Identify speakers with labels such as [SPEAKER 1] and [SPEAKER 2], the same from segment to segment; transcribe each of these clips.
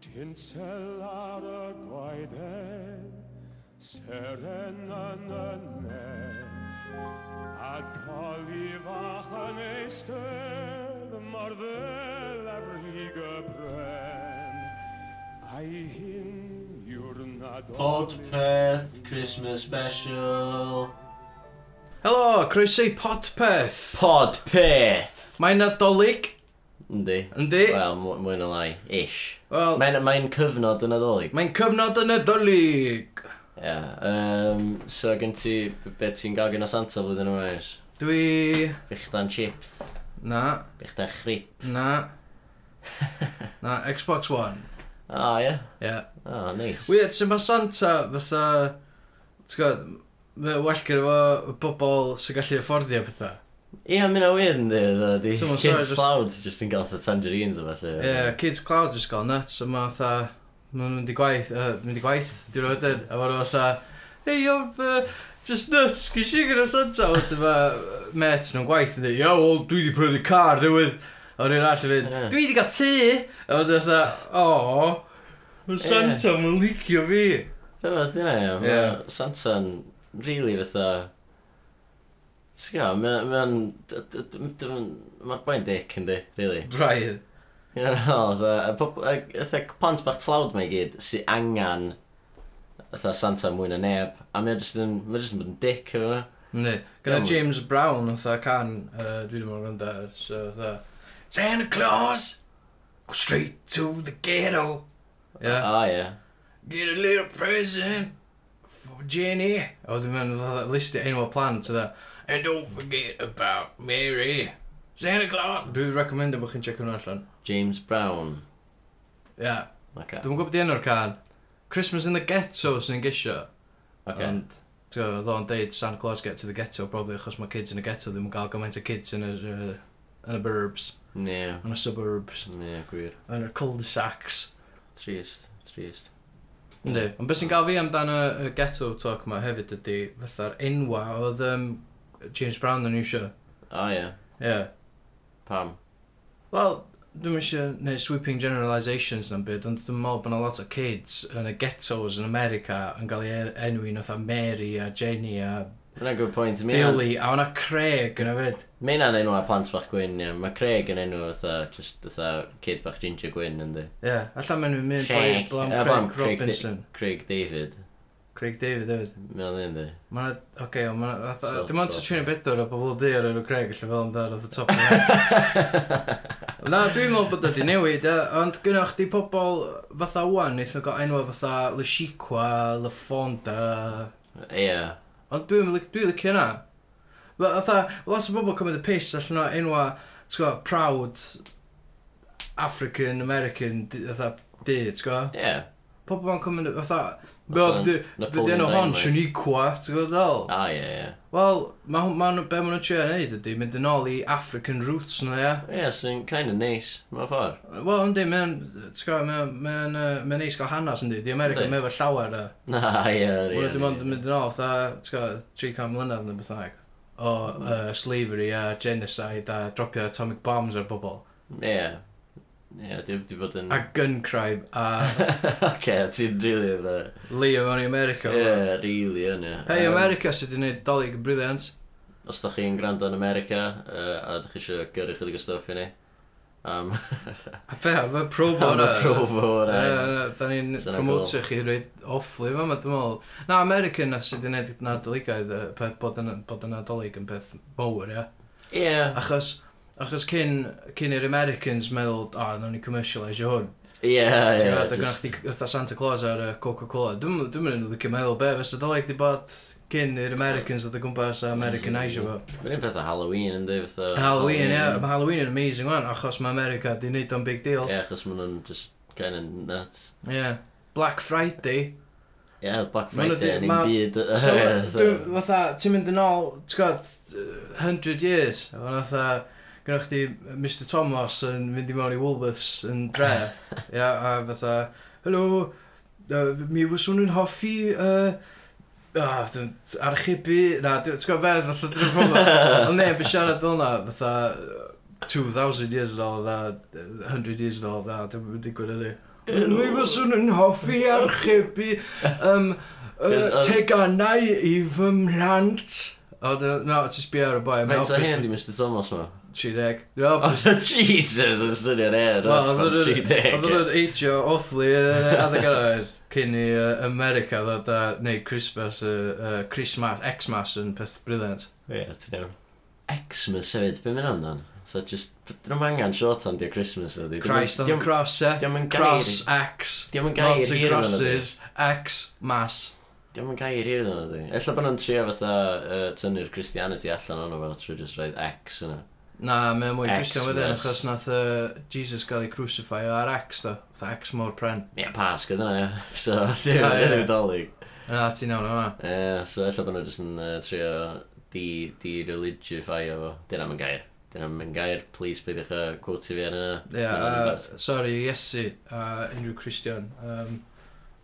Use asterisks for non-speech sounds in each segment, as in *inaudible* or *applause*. [SPEAKER 1] Tinsel ar y gwaeden, seren yn y nen, a coli fach yn eistedd, mor ddelefrig y bren. A'i hyn yw'r nad
[SPEAKER 2] Podpeth Christmas Special.
[SPEAKER 3] Helo, croeso i Podpeth.
[SPEAKER 2] Podpeth.
[SPEAKER 3] Mae'n nadolig,
[SPEAKER 2] Yndi.
[SPEAKER 3] yndi?
[SPEAKER 2] Wel, mw- mwy na lai. Ish.
[SPEAKER 3] Wel,
[SPEAKER 2] Mae'n mae cyfnod yn adolyg.
[SPEAKER 3] mae'n cyfnod yn nadolig.
[SPEAKER 2] Ie. Um, so gen ti, be ti'n gael gyda Santa flwyddyn yma ys?
[SPEAKER 3] Dwi...
[SPEAKER 2] Bichdan chips.
[SPEAKER 3] Na,
[SPEAKER 2] Bichdan chrip.
[SPEAKER 3] na. Na, Xbox One.
[SPEAKER 2] O, oh, ie.
[SPEAKER 3] Ie. Yeah.
[SPEAKER 2] O, oh, neis.
[SPEAKER 3] Weird, sy'n ma Santa fatha... T'w gwybod, mae'n well gyda fo bobl sy'n gallu afforddio pethau.
[SPEAKER 2] Ie, yeah, mynd o weird yn dweud. Di
[SPEAKER 3] Someone
[SPEAKER 2] kids
[SPEAKER 3] saw it
[SPEAKER 2] just...
[SPEAKER 3] just-
[SPEAKER 2] loud just yn gael the tangerines o felly.
[SPEAKER 3] Ie, yeah, Kids Cloud jyst gael nuts, a mae fatha... Mae'n mynd i gwaith, uh, mynd i gwaith, dwi'n rhoi dyn, a mae'n fatha... Hey, yo, uh, just nuts, gys i gyda Santa, ond dyma yy, mates nhw'n gwaith, yn dweud, yo, wel, dwi wedi prynu car, newydd. A rhywun arall yn
[SPEAKER 2] Ie.
[SPEAKER 3] dweud, dwi wedi cael tŷ, a mae'n fatha, o, mae Santa, mae'n licio fi.
[SPEAKER 2] Dyma fath dyna, ie.
[SPEAKER 3] Ie.
[SPEAKER 2] Yeah. Santa'n really fatha... Ti'n gael, mae'n... Mae'r boi'n dic yn di, really.
[SPEAKER 3] Brian.
[SPEAKER 2] Ie, no, *laughs* fatha plant bach tlawd mae gyd sy'n angan fatha Santa mwy na neb a mae'n just yn, mae'n just yn bod yn dic efo hwnna.
[SPEAKER 3] Ne, gyda
[SPEAKER 2] Iawn.
[SPEAKER 3] James Brown, fatha can, uh, dwi ddim yn gwrando ar, so fatha, Santa Claus, go straight to the ghetto. Yeah.
[SPEAKER 2] O, ie.
[SPEAKER 3] Get a little present for Jenny. A wedyn mae'n fatha listio enw o plant ydda. And don't forget about Mary. Santa Claus. Dwi'n recomendo bod chi'n check hwnna allan.
[SPEAKER 2] James Brown.
[SPEAKER 3] Ia. Yeah.
[SPEAKER 2] Oce,
[SPEAKER 3] Dwi'n gwybod di enw'r can. Christmas in the Ghetto sy'n gisio.
[SPEAKER 2] oce.
[SPEAKER 3] Ond, ti'n gwybod, ddo'n deud Santa Claus get to the ghetto, probably achos mae kids in the ghetto ddim yn cael gymaint o kids yn yr... Uh, yn y burbs,
[SPEAKER 2] Ne,
[SPEAKER 3] yn y suburbs,
[SPEAKER 2] ne, gwir.
[SPEAKER 3] yn y cul-de-sacs.
[SPEAKER 2] Trist, trist.
[SPEAKER 3] Ynddi, ond beth sy'n gael fi amdan y, y ghetto talk yma hefyd ydy fatha'r enwa oedd um, James Brown yn eisiau.
[SPEAKER 2] O, ie.
[SPEAKER 3] Ie. Yeah.
[SPEAKER 2] Pam.
[SPEAKER 3] Wel, dwi'n eisiau neud sweeping generalisations na'n byd, ond dwi'n meddwl bod yna lot o kids yn y ghettos yn America yn cael eu enwi'n fatha Mary a Jenny a
[SPEAKER 2] Mae'n good point. Mae'n
[SPEAKER 3] Billy a o'na Craig yn y fyd.
[SPEAKER 2] an enw a plant bach gwyn, ie. Mae Craig yn enw fatha, just fatha, kid bach ginger gwyn, yndi.
[SPEAKER 3] Ie, yeah. allan maen nhw'n mynd
[SPEAKER 2] Craig.
[SPEAKER 3] blaen
[SPEAKER 2] Yy,
[SPEAKER 3] Craig,
[SPEAKER 2] blam,
[SPEAKER 3] Craig
[SPEAKER 2] Craig Da-
[SPEAKER 3] Robinson.
[SPEAKER 2] Craig David.
[SPEAKER 3] Craig David hefyd.
[SPEAKER 2] Mae'n yndi.
[SPEAKER 3] Mae'n, oce, okay, mae'n,
[SPEAKER 2] So-
[SPEAKER 3] dwi'n meddwl
[SPEAKER 2] so-
[SPEAKER 3] ti'n trin i bedwr o bobl di ar enw Craig, allai fel amdano off the top of my head.
[SPEAKER 2] *laughs*
[SPEAKER 3] Na, dwi'n meddwl bod wedi newid, yy, ond gynnwch chdi pobl fatha wan, wnaeth nhw gael enw fatha Le Chiqua, Le Fonda,
[SPEAKER 2] Ie.
[SPEAKER 3] ond dwi'n dwi, dwi licio yna. Fatha, lot o bobl cymryd y piss allan o enw, ti'n gwybod, proud African American, di- fatha, di, ti'n gwybod?
[SPEAKER 2] Ie.
[SPEAKER 3] Pobl ma'n cymryd, fatha,
[SPEAKER 2] Fatha
[SPEAKER 3] "Be- be- be di enw hon,
[SPEAKER 2] Napoleon Dynamite.
[SPEAKER 3] Sianiqua, ti'n gwybod ddol?
[SPEAKER 2] O, ie, ie.
[SPEAKER 3] Wel, mae ma, ma, be maen nhw'n trio wneud ydy, mynd yn ôl i African roots nhw, ia.
[SPEAKER 2] Ie, yeah, sy'n kind of nice, mae'n ffordd. *laughs*
[SPEAKER 3] Wel, ynddi, mae'n, ti'n gwybod, mae'n ma ma neis gael hanes ynddi, di America
[SPEAKER 2] Yndi.
[SPEAKER 3] mewn efo llawer e.
[SPEAKER 2] Na, ie, ie.
[SPEAKER 3] Wel, dim ond yn
[SPEAKER 2] ie.
[SPEAKER 3] mynd yn ôl, tha, ti'n gwybod, 300 mlynedd neu beth ag, o
[SPEAKER 2] Mm.
[SPEAKER 3] uh, slavery a genocide a dropio atomic bombs ar bobl.
[SPEAKER 2] Ie. Ie, di di bod yn...
[SPEAKER 3] A gun crime
[SPEAKER 2] *laughs*
[SPEAKER 3] a
[SPEAKER 2] Oce, ti'n rili dda.
[SPEAKER 3] leo mewn i America.
[SPEAKER 2] Ie, rili yn ie.
[SPEAKER 3] Hei,
[SPEAKER 2] Yym,
[SPEAKER 3] America sydd wedi gwneud dolyg yn briliant.
[SPEAKER 2] Os da chi'n gwrando yn America, yy, a da chi eisiau gyrru chydig o stuff i ni. Am...
[SPEAKER 3] A be, mae
[SPEAKER 2] *laughs*
[SPEAKER 3] probo
[SPEAKER 2] Am y
[SPEAKER 3] hwnna.
[SPEAKER 2] probo o'r e.
[SPEAKER 3] Yy, Da ni'n
[SPEAKER 2] Sa 'na
[SPEAKER 3] promotio chi rhaid offlu fa, ma dwi'n meddwl. Na, American na sydd wedi gwneud nadoligaidd, yy, peth bod yn, bod yn nadolig yn peth mowr, ia.
[SPEAKER 2] Ie.
[SPEAKER 3] Achos, achos cyn, cyn i'r Americans meddwl, o, oh, nawn ni commercialise hwn.
[SPEAKER 2] Ie, ie.
[SPEAKER 3] Ti'n gwbod, Ac o'ch
[SPEAKER 2] just-
[SPEAKER 3] chi fatha Santa Claus ar y Coca-Cola. Dwi'n dwi'n mynd yn licio meddwl be, fes nadolig di bod cyn i'r Americans oedd y gwmpas a Americanisio fo.
[SPEAKER 2] Mae'n un peth o Halloween yn dweud, fatha...
[SPEAKER 3] Halloween, ie. Mae Halloween yn amazing wan, achos mae America di wneud o'n big deal.
[SPEAKER 2] Ie, achos maen nhw'n just kind of nuts.
[SPEAKER 3] Yeah. Black Friday,
[SPEAKER 2] Ie, Black
[SPEAKER 3] Ma' nhw di-
[SPEAKER 2] Friday yn un
[SPEAKER 3] ma-
[SPEAKER 2] byd... yy, *laughs*
[SPEAKER 3] So,
[SPEAKER 2] fatha-
[SPEAKER 3] dwi- fatha, ti'n mynd yn ôl, ti'n gwybod, 100 years, a fan fatha, gyda chdi Mr Thomas yn mynd i mewn i Woolworths yn dre, ia, a fatha, helo, uh, mi fyswn yn hoffi, uh, Ah, dwi'n archebu, na, dwi- ti'n gwybod beth, fatha dwi'n
[SPEAKER 2] *laughs*
[SPEAKER 3] gwybod, ond neb yn siarad fel na, fatha, yy, 2,000 years yn ôl, fatha, 100 years yn ôl, fatha, dwi'n digwydd ydi. Mi fyswn yn hoffi archebu um,
[SPEAKER 2] Cos,
[SPEAKER 3] uh,
[SPEAKER 2] yym,
[SPEAKER 3] teganau i fy mlant. O, dy- na, no, ti'n sbio ar y boi. mae'n
[SPEAKER 2] Faint o
[SPEAKER 3] hapus-
[SPEAKER 2] hen di Mr Thomas ma? *laughs*
[SPEAKER 3] 30. Dwi'n hapus.
[SPEAKER 2] Jesus, yn styrio'n air
[SPEAKER 3] Wel,
[SPEAKER 2] off am
[SPEAKER 3] oedd yr-
[SPEAKER 2] 30.
[SPEAKER 3] Oedd yn eitio othlu adeg yr cyn i yy, America ddod a neu Christmas, yy, yy, Christmas, Xmas yn peth briliant.
[SPEAKER 2] Ie, ti'n iawn. Xmas hefyd, be mynd amdan? So just, dyn nhw'n angen short hand i'r Christmas ydi.
[SPEAKER 3] Christ on the cross, e?
[SPEAKER 2] Diolch yn gair.
[SPEAKER 3] Cross, X.
[SPEAKER 2] Diolch yn gair
[SPEAKER 3] Lots of
[SPEAKER 2] hir yn ydi.
[SPEAKER 3] crosses, X, mas.
[SPEAKER 2] Diolch yn gair hir yn ydi. Ella bod nhw'n trio fatha uh, tynnu'r Christianity allan o'n efo trwy just roed X yna.
[SPEAKER 3] Na, mae mwy
[SPEAKER 2] Xmas.
[SPEAKER 3] Christian wedyn, achos nath yy, Jesus gael ei crucify ar X, do. Tha X mor pren.
[SPEAKER 2] Ie, pasg yna, ie. *laughs* So,
[SPEAKER 3] Ah, Ie, ie.
[SPEAKER 2] ddim yn dolyg.
[SPEAKER 3] Na, ti'n iawn o'na.
[SPEAKER 2] Ie, so ella bod nhw'n just yn uh, trio di, di religify fo. Dyna mae'n gair. Dyna mae'n gair, please, byddi'ch uh, quote i fi ar yna.
[SPEAKER 3] Ie, yeah, *laughs* uh, sorry, Iesu a unrhyw Christian um,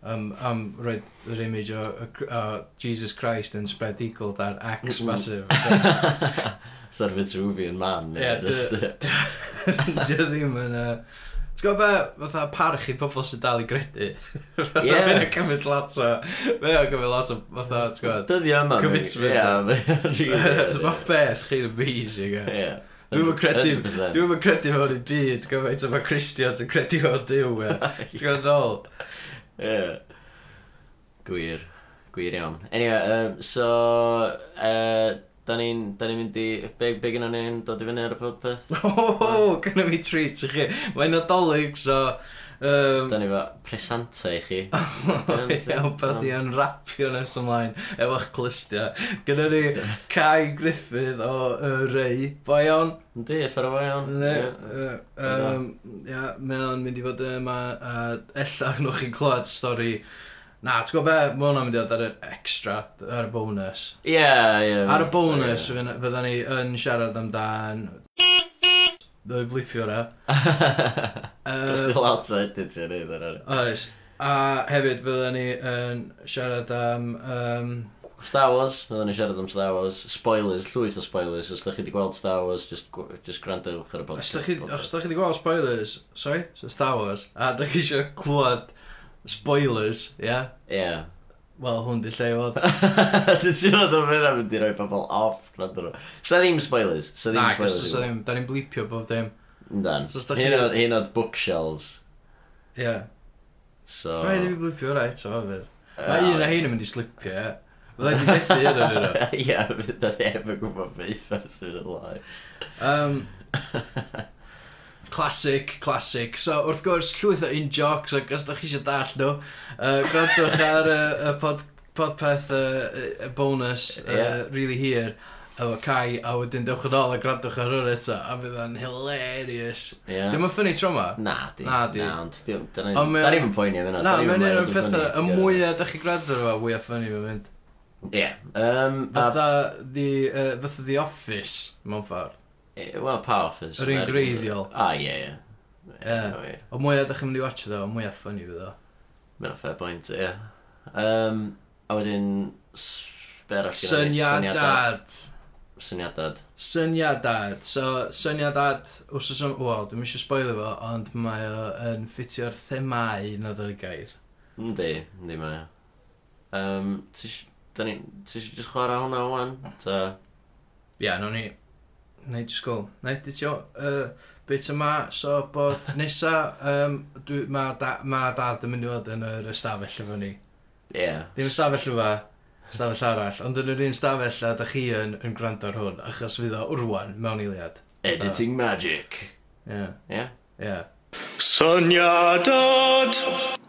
[SPEAKER 3] um, am roed yr image o, o, Gr- o Jesus Christ yn spread eagle dar X
[SPEAKER 2] Mm.
[SPEAKER 3] massive.
[SPEAKER 2] *laughs* Sa'r Vitruvian man.
[SPEAKER 3] Ie,
[SPEAKER 2] ie, just, uh,
[SPEAKER 3] Dio ddim yn... Uh, T'w gwybod be, fatha parch i pobl sy'n dal i gredu? *laughs* Fatha,
[SPEAKER 2] Ie.
[SPEAKER 3] Mae'n cymryd lot o... Mae'n cymryd lot o... Fatha, ti'n gwybod?
[SPEAKER 2] Dyddi yma.
[SPEAKER 3] Commitment.
[SPEAKER 2] *laughs* Ie, *laughs*
[SPEAKER 3] Mae faith chi'n amazing, e.
[SPEAKER 2] Ie.
[SPEAKER 3] *laughs* Dwi'm yn credu-
[SPEAKER 2] 100%. *laughs*
[SPEAKER 3] Dwi'n mynd credu mewn i byd, gyfaint o mae Christian yn credu mewn Dyw, e. Ti'n
[SPEAKER 2] *laughs*
[SPEAKER 3] gwybod ddol?
[SPEAKER 2] Ie. Gwir. Gwir iawn. Anyway, um, so... Uh, da ni'n da ni mynd i... Be, be gynnu ni'n dod i fyny ar y popeth?
[SPEAKER 3] Oh, gynna fi treat i chi. Mae'n nadolig, so... Um,
[SPEAKER 2] Da ni fo presanta i chi.
[SPEAKER 3] Iawn, beth i yn rapio nes ymlaen efo'ch clystiau. Gynna ni Kai Griffith o uh, Rei. Boi iawn.
[SPEAKER 2] Yndi, ffer o fo iawn.
[SPEAKER 3] Ne,
[SPEAKER 2] Ie.
[SPEAKER 3] yy, yym, Ia, mae o'n mynd i fod yma a ella gnwch chi'n clywed stori. Na, ti'n gwybod be? Mae hwnna'n mynd i fod ar yr extra, ar y bonus.
[SPEAKER 2] Ie, ie. *laughs*
[SPEAKER 3] Ar y bonus, fydda- fydda ni yn siarad amdan... Dwi'n blipio na.
[SPEAKER 2] Does
[SPEAKER 3] e. Yy,
[SPEAKER 2] dim lot o edit i'n neud ar hynny.
[SPEAKER 3] Oes. A hefyd fydda ni yn siarad am... Um,
[SPEAKER 2] Star Wars, fydden ni siarad am Star Wars. Spoilers, llwyth o spoilers. Os da chi wedi gweld Star Wars, just, gw- just grandewch ar y
[SPEAKER 3] os
[SPEAKER 2] podcast.
[SPEAKER 3] da chi wedi gweld spoilers, sorry, so Star Wars, a da chi eisiau clywed spoilers, ie? Yeah?
[SPEAKER 2] Ie.
[SPEAKER 3] Wel, hwn di lle i *laughs* fod.
[SPEAKER 2] *laughs* Dwi'n siarad am hynna mynd i roi pobl off gwrando nhw. Sa ddim spoilers. Sa
[SPEAKER 3] Na,
[SPEAKER 2] ddim
[SPEAKER 3] gos
[SPEAKER 2] spoilers.
[SPEAKER 3] os da ni'n da ni'n blipio bob dim.
[SPEAKER 2] Dan.
[SPEAKER 3] So os dach chi-
[SPEAKER 2] Hyn o'r- hyn o'r bookshelves.
[SPEAKER 3] Ie. Yeah.
[SPEAKER 2] So...
[SPEAKER 3] Oh. Rhaid i fi blipio rai, to, fydd.
[SPEAKER 2] Yy,
[SPEAKER 3] Mae un a hyn yn mynd i slipio, ie? Fydda i di methu yn yr yno.
[SPEAKER 2] *laughs* Ie, fydd o'n heb yn gwybod beth fes yn y lai.
[SPEAKER 3] Um, classic, classic. So, wrth gwrs, llwyth o in-jokes, ac os da chi eisiau dall nhw, uh, gwrandwch ar y uh, pod, podpeth uh, bonus, uh,
[SPEAKER 2] Ie.
[SPEAKER 3] really hir, efo Kai, a wedyn dewch yn ôl a gwrandwch ar hwn eto, a fydd o'n hilarious.
[SPEAKER 2] Ie.
[SPEAKER 3] Dim yn ffynnu tro ma?
[SPEAKER 2] Na, di.
[SPEAKER 3] Na, di.
[SPEAKER 2] Na, ond di- da ni-
[SPEAKER 3] Ond mae-
[SPEAKER 2] da ni'n poeni am hynna.
[SPEAKER 3] Na,
[SPEAKER 2] da ni'm yn
[SPEAKER 3] mae'n un
[SPEAKER 2] meddwl
[SPEAKER 3] o'r
[SPEAKER 2] dwi'n
[SPEAKER 3] pethau,
[SPEAKER 2] funny,
[SPEAKER 3] y
[SPEAKER 2] ti'n gwbod.
[SPEAKER 3] mwyaf da chi gwrando ar fo, wyaf ffynnu fe'n mynd.
[SPEAKER 2] Ie. Yym, a-
[SPEAKER 3] Fatha the, uh, fatha the Office, mewn ffordd.
[SPEAKER 2] e, Wel, pa offers?
[SPEAKER 3] Yr un greiddiol.
[SPEAKER 2] A, ie, ie.
[SPEAKER 3] Ie.
[SPEAKER 2] wir.
[SPEAKER 3] O mwyaf da chi'n mynd i watch o, o mwyaf ffynnu fydd o.
[SPEAKER 2] Mae'n fair point, ie. Um, a wedyn, s- be arall gynna ni?
[SPEAKER 3] Syniadad.
[SPEAKER 2] Syniadad.
[SPEAKER 3] Syniadad. So, syniadad, wrth oes... Wel, dwi'n eisiau spoilio fo, ond mae o yn ffitio'r themau nad o'r gair.
[SPEAKER 2] Yndi, yndi mae. Um, ti eisiau just chwarae hwnna o'n? Ta...
[SPEAKER 3] Ia, yeah, nawn ni... Neu di sgol. Neu di ti o... Uh, bit yma, so bod nesa... Um, dwi, mae da, ma dad yn mynd i fod yn yr ystafell efo ni.
[SPEAKER 2] Ie.
[SPEAKER 3] Ddim ystafell yma, ystafell arall, ond yn yr un ystafell a da chi yn, yn gwrando ar hwn, achos fydd o wrwan mewn eiliad.
[SPEAKER 2] Editing magic.
[SPEAKER 3] Ie, yeah,
[SPEAKER 2] Ie.
[SPEAKER 3] ie. Yeah.
[SPEAKER 1] Syniadad!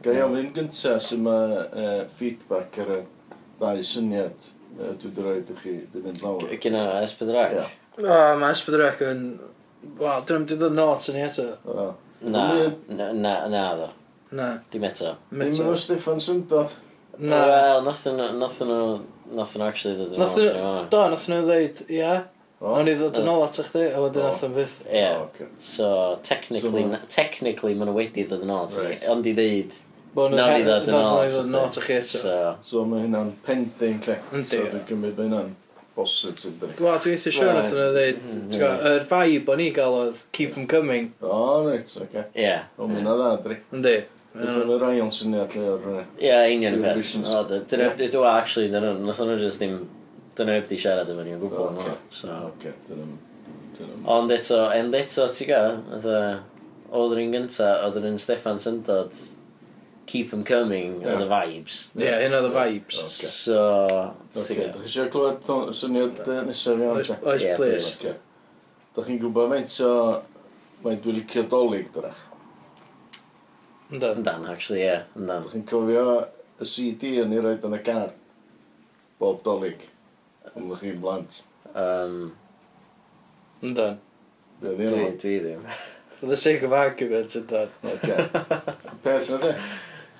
[SPEAKER 4] Ga i ofyn gyntaf sy'n ma uh, feedback ar y ddau syniad uh, dwi wedi rhoi i chi wedi mynd lawr.
[SPEAKER 2] Gynna S4C?
[SPEAKER 4] Ie.
[SPEAKER 3] O, oh, mae Esbydrec yn... Wel, dyn nhw'n dod not yn ei eto.
[SPEAKER 4] Wel,
[SPEAKER 2] Na,
[SPEAKER 4] Ie.
[SPEAKER 2] na, na, na ddo.
[SPEAKER 3] Na.
[SPEAKER 2] Dim eto.
[SPEAKER 4] Ddim
[SPEAKER 3] Meto.
[SPEAKER 4] efo Steffan Syndod.
[SPEAKER 3] Na.
[SPEAKER 2] Wel, nothyn nhw, nothyn nhw, nothyn nhw actually dod yn ôl
[SPEAKER 3] Nathyn
[SPEAKER 2] atyn
[SPEAKER 3] nhw...
[SPEAKER 2] nhw.
[SPEAKER 3] Do, nathyn nhw ddeud, ia.
[SPEAKER 4] O,
[SPEAKER 3] Nawn ni ddod yn ôl at chdi, a wedyn
[SPEAKER 4] O.
[SPEAKER 3] nathyn byth.
[SPEAKER 2] Ie.
[SPEAKER 4] O, ocê.
[SPEAKER 2] So, technically,
[SPEAKER 4] So ma-
[SPEAKER 2] na- technically maen nhw wedi dod yn ôl atyn
[SPEAKER 4] Right.
[SPEAKER 2] ni. Ond i ddeud,
[SPEAKER 3] Bod
[SPEAKER 2] nawn ni ddod yn ôl
[SPEAKER 3] Nawn ni ddod yn ôl at chdi eto.
[SPEAKER 2] So,
[SPEAKER 4] So mae hynna'n pending lle.
[SPEAKER 3] Yndi,
[SPEAKER 4] So
[SPEAKER 3] ie.
[SPEAKER 4] dwi'n cymryd mae hynna'n bosib dyn ni.
[SPEAKER 3] Wel, dwi'n eitha siwr
[SPEAKER 2] Wel,
[SPEAKER 3] nathyn nhw ddeud,
[SPEAKER 2] mm,
[SPEAKER 3] ti'n gwbod, yr vibe o'n i gael oedd keep 'em coming,
[SPEAKER 4] O, reit, oce.
[SPEAKER 2] ie.
[SPEAKER 4] O, mae hynna dda, dri.
[SPEAKER 3] yndi.
[SPEAKER 4] Beth yn yr aion syniad lle o'r... yy,
[SPEAKER 2] Ie, union y peth.
[SPEAKER 4] Eurovisions.
[SPEAKER 2] O, dy- Dyna, dy- dwi actually, dyna, nath o'n just ddim, dyna heb di siarad efo ni yn
[SPEAKER 4] O,
[SPEAKER 2] gwbl.
[SPEAKER 4] oce.
[SPEAKER 2] no, So,
[SPEAKER 4] Oce, dyna'n... Dyna'n...
[SPEAKER 2] Ond eto, end eto ti gael, oedd y... Oedd yr un gynta, oedd yr un Steffan Syndod, Keep 'em Coming,
[SPEAKER 4] Ie.
[SPEAKER 2] oedd y vibes.
[SPEAKER 5] Ie, un o'r vibes.
[SPEAKER 4] Oce.
[SPEAKER 2] So,
[SPEAKER 4] Oce,
[SPEAKER 2] ti
[SPEAKER 4] dych
[SPEAKER 2] gael.
[SPEAKER 4] chi eisiau clywed to- syniad yy, nesaf iawn?
[SPEAKER 5] Oes,
[SPEAKER 4] ta?
[SPEAKER 5] oes,
[SPEAKER 2] Ie,
[SPEAKER 5] please.
[SPEAKER 2] Oh. please.
[SPEAKER 4] Oce. Dych chi'n gwybod mae'n so... Mae'n dwi licio dolyg, dra.
[SPEAKER 5] Ynddo.
[SPEAKER 2] Yndan, actually, ie, yndan.
[SPEAKER 4] Dych chi'n cofio y CD yn ei roed yn y car? Bob dolyg. Ond dych chi'n blant.
[SPEAKER 2] Um,
[SPEAKER 3] Ynddo.
[SPEAKER 4] Be oedd
[SPEAKER 2] dwi,
[SPEAKER 4] hynna?
[SPEAKER 2] dwi ddim.
[SPEAKER 3] For the sake of argument, ynddo.
[SPEAKER 4] Oce. Peth yna de?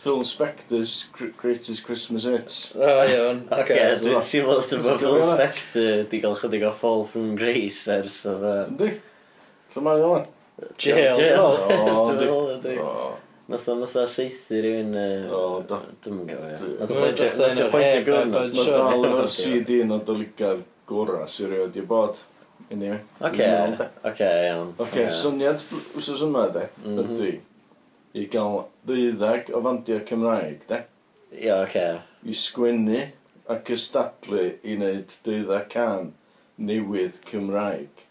[SPEAKER 4] Phil Spector's Gr- Greatest Christmas Hits.
[SPEAKER 3] O,
[SPEAKER 2] *laughs*
[SPEAKER 3] iawn.
[SPEAKER 2] Oce,
[SPEAKER 3] Oce.
[SPEAKER 2] dwi'n teimlo oedd
[SPEAKER 4] Ti'n
[SPEAKER 2] efo
[SPEAKER 4] cofio
[SPEAKER 2] Phil
[SPEAKER 4] hwnna?
[SPEAKER 2] Spector di gael chydig o fall from grace ers oedd y...
[SPEAKER 4] Yndi? Lle mae o'n?
[SPEAKER 2] Jail, *laughs* Oh,
[SPEAKER 4] O, yndi.
[SPEAKER 2] jail.
[SPEAKER 4] O,
[SPEAKER 2] Nath o'n nath o seithi rhywun... yy,
[SPEAKER 4] O, do.
[SPEAKER 2] Dwi'm yn gofio.
[SPEAKER 4] Dwi-
[SPEAKER 2] Nath o'n
[SPEAKER 3] Dwi'n
[SPEAKER 2] pwyntio
[SPEAKER 3] edrych
[SPEAKER 2] nath o'n
[SPEAKER 3] yn yr
[SPEAKER 2] pwyntio
[SPEAKER 3] hen
[SPEAKER 2] gwn.
[SPEAKER 3] band,
[SPEAKER 4] Mae
[SPEAKER 3] Sure.
[SPEAKER 4] dal yn o'r CD yn o dolygaeth gorau sy'n rhaid i bod. Anyway.
[SPEAKER 2] Oce, oce, iawn.
[SPEAKER 4] Oce, syniad wsos yma, de,
[SPEAKER 2] Mhm.
[SPEAKER 4] ydy, i gael ddeuddag o fandiau Cymraeg, de,
[SPEAKER 2] Ie, oce.
[SPEAKER 4] i sgwennu ac ystadlu i wneud ddeuddag can newydd Cymraeg.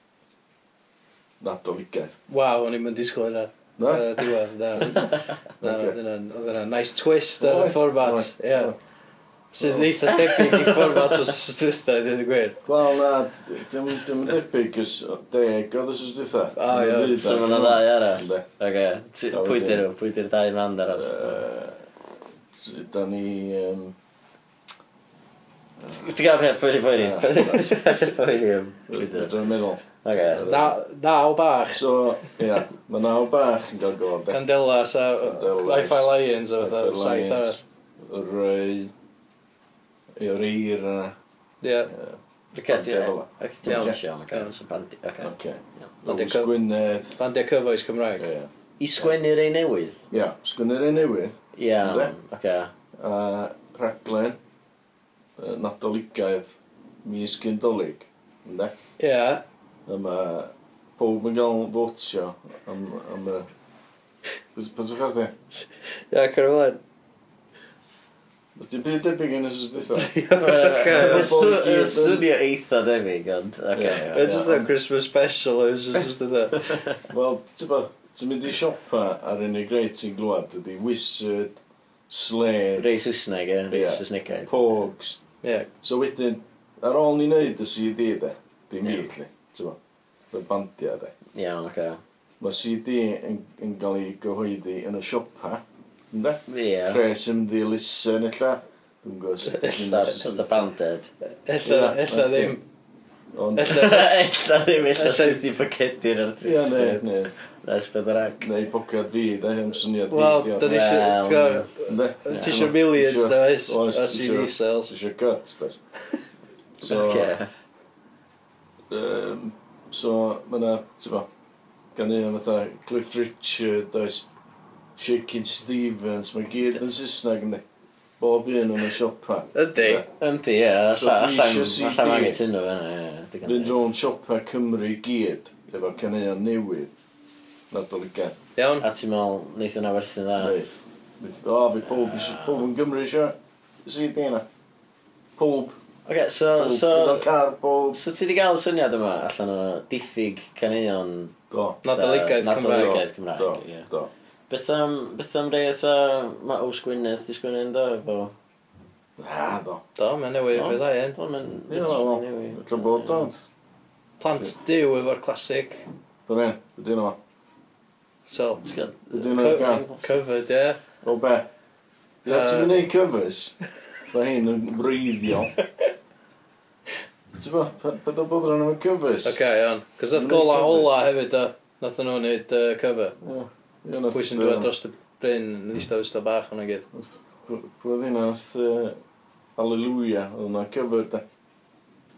[SPEAKER 4] Na dolygaeth.
[SPEAKER 3] Waw, o'n i'n mynd i sgwyl yna.
[SPEAKER 4] Na?
[SPEAKER 3] Ar y diwedd,
[SPEAKER 2] *laughs*
[SPEAKER 3] da. Na,
[SPEAKER 4] Oce.
[SPEAKER 3] oedd hwnna'n- oedd yna nice twist ar y
[SPEAKER 4] Oedd,
[SPEAKER 3] fformat.
[SPEAKER 4] oedd,
[SPEAKER 3] Ie.
[SPEAKER 4] oedd.
[SPEAKER 3] Sydd eitha debyg i fformat o sysdwytha, i ddweud y gwir.
[SPEAKER 4] Wel, na, d- dim dim yn debyg ys deg oedd ys ysdwytha.
[SPEAKER 3] O, ie,
[SPEAKER 2] So ma' 'na ddau arall. Oce, ti-
[SPEAKER 4] A
[SPEAKER 2] pwy
[SPEAKER 4] wedyn-
[SPEAKER 2] di nhw? Pwy di'r dau man ar oedd?
[SPEAKER 4] Da ni... yym,
[SPEAKER 2] Ti'n gael peth, pwy di pwy di?
[SPEAKER 4] Na.
[SPEAKER 2] Pwy di? Pwy di?
[SPEAKER 4] Dwi'n meddwl.
[SPEAKER 2] Oce.
[SPEAKER 3] Na- Naw bach.
[SPEAKER 4] So, ie, mae naw bach yn cael gofod. de.
[SPEAKER 3] Candelas a
[SPEAKER 4] Candelas.
[SPEAKER 3] Hi-Fi Lions a fatha
[SPEAKER 4] Fatha
[SPEAKER 3] saith
[SPEAKER 4] Lions,
[SPEAKER 3] arall.
[SPEAKER 4] y Rei. Yr eir yna.
[SPEAKER 3] Ie.
[SPEAKER 4] Ie,
[SPEAKER 2] Oce, ti
[SPEAKER 4] Candelas.
[SPEAKER 2] Oce, ti iawn,
[SPEAKER 4] Oce.
[SPEAKER 2] Siom, oce. So bandi, oce.
[SPEAKER 4] Oce.
[SPEAKER 3] Ond y
[SPEAKER 4] Lewis
[SPEAKER 3] cyf-
[SPEAKER 4] Gwynedd.
[SPEAKER 3] Bandiau cyfoes Cymraeg.
[SPEAKER 4] Ie.
[SPEAKER 2] I sgwennu rei newydd?
[SPEAKER 4] Ie, sgwynnyr ei newydd.
[SPEAKER 2] Iawn,
[SPEAKER 4] Yndw.
[SPEAKER 2] oce.
[SPEAKER 4] A rhaglen. yy, Nadoligaidd. Mis Gyndolig. Ynde?
[SPEAKER 3] Ie.
[SPEAKER 4] A mae pob yn cael fotio am, am y... Pan ti'n chwerthu?
[SPEAKER 3] Ie, Caroline.
[SPEAKER 4] Os ti'n byd debyg yn ysys dwytho?
[SPEAKER 2] Y
[SPEAKER 3] Oce.
[SPEAKER 2] sw- y Swnio eitha debyg, ond, oce.
[SPEAKER 4] Ie.
[SPEAKER 3] It's just a Christmas special, it was just that.
[SPEAKER 4] Wel, ti'n bo, ti'n mynd i siopa ar unig greit ti'n glwad, ydy Wizard, Slade,
[SPEAKER 2] Rei Saesneg, e? Rei
[SPEAKER 4] Ie.
[SPEAKER 2] Saesnegaidd.
[SPEAKER 4] Pogs.
[SPEAKER 3] Ie.
[SPEAKER 4] So wedyn, ar ôl ni wneud y CD de, dim
[SPEAKER 2] Ie.
[SPEAKER 4] byd li, ti'n bo, y bandiau de.
[SPEAKER 2] Iawn, oce.
[SPEAKER 4] Mae CD yn, yn cael ei gyhoeddi yn y siopa, ynddo?
[SPEAKER 2] Ie.
[SPEAKER 4] Pres yn mynd i listen illa. Dwi'n gwybod sut ti'n mynd i listen.
[SPEAKER 2] Ella banded.
[SPEAKER 3] Ella,
[SPEAKER 4] Ie,
[SPEAKER 3] ella
[SPEAKER 4] that's
[SPEAKER 3] ddim.
[SPEAKER 4] Ond,
[SPEAKER 3] Ella.
[SPEAKER 2] Ella ddim, ella
[SPEAKER 3] Ella-
[SPEAKER 2] sydd wedi bacedi'r
[SPEAKER 4] ia,
[SPEAKER 2] artist.
[SPEAKER 4] ne, ne,
[SPEAKER 2] Nes bydd yr ac.
[SPEAKER 4] neu bocad fi, de, am syniad
[SPEAKER 3] Wel,
[SPEAKER 4] fi,
[SPEAKER 3] da ni
[SPEAKER 2] Wel,
[SPEAKER 3] eisiau...
[SPEAKER 4] ynddo?
[SPEAKER 3] Ti eisiau millions, da oes?
[SPEAKER 4] Oes,
[SPEAKER 3] A
[SPEAKER 4] ti
[SPEAKER 3] CD
[SPEAKER 4] isio-
[SPEAKER 3] sales.
[SPEAKER 4] Ti eisiau guts, de. So,
[SPEAKER 2] Oce.
[SPEAKER 4] Um, so, mae yna, ti'n bo, gan un fatha Cliff Richard, oes, Shakin' Stevens, mae gyd yn Saesneg yndi. Bob un yn y siopa.
[SPEAKER 3] Ydy.
[SPEAKER 2] Yndi, ie.
[SPEAKER 4] So
[SPEAKER 2] Alla,
[SPEAKER 4] dwi
[SPEAKER 2] alla,
[SPEAKER 4] isio
[SPEAKER 2] alla
[SPEAKER 4] CD.
[SPEAKER 2] mae gen tyn nhw fyna.
[SPEAKER 4] Fynd rhwng siopa Cymru gyd, efo caneuon newydd. Nadoligedd.
[SPEAKER 3] Iawn.
[SPEAKER 2] A ti'n meddwl, neith yna werthu'n dda?
[SPEAKER 4] Neith. Neith- O, fi pob, isio-
[SPEAKER 2] Ah.
[SPEAKER 4] pob yn Gymru isio. Ysig i dina. Pob.
[SPEAKER 2] Oce, so,
[SPEAKER 4] pob,
[SPEAKER 2] Ah, so...
[SPEAKER 4] gyda car, pob.
[SPEAKER 2] So ti wedi gael y syniad yma allan o diffyg caneuon...
[SPEAKER 4] Do.
[SPEAKER 3] Nadoligaidd
[SPEAKER 2] fatha-
[SPEAKER 3] Cymraeg.
[SPEAKER 2] Nadoligaidd
[SPEAKER 4] Do,
[SPEAKER 2] Cymraeg, ie.
[SPEAKER 4] do.
[SPEAKER 2] Beth am, beth am rei eitha mae Ows Gwynedd di sgwynnu yn do efo...
[SPEAKER 4] Na, do.
[SPEAKER 3] Do, mae'n newid
[SPEAKER 2] Do.
[SPEAKER 3] i'r ddau yn.
[SPEAKER 2] Wel, mae'n...
[SPEAKER 4] Ie, wel, Tra bod ond.
[SPEAKER 3] Plant diw efo'r clasic.
[SPEAKER 4] Byddai'n, byddai'n o.
[SPEAKER 3] So,
[SPEAKER 4] Ydyn nhw'n gan.
[SPEAKER 3] Covered, ie.
[SPEAKER 4] O be? Ie,
[SPEAKER 3] Yy.
[SPEAKER 4] ti'n gwneud covers? Mae hyn yn wreiddiol. Ti'n bod, pa da bod rhan am y covers?
[SPEAKER 3] Oce, iawn. Cos nath
[SPEAKER 4] Wneud
[SPEAKER 3] gola
[SPEAKER 4] covers.
[SPEAKER 3] ola hefyd, do. Nath nhw wneud yy, cover.
[SPEAKER 4] Ie, ie, nath-
[SPEAKER 3] Pwy sy'n dweud dros y bryn, yn eistedd wysta bach hwnna gyd.
[SPEAKER 4] nath- pw- Pwy oedd hynna, nath yy, Alleluia, oedd hwnna cover da.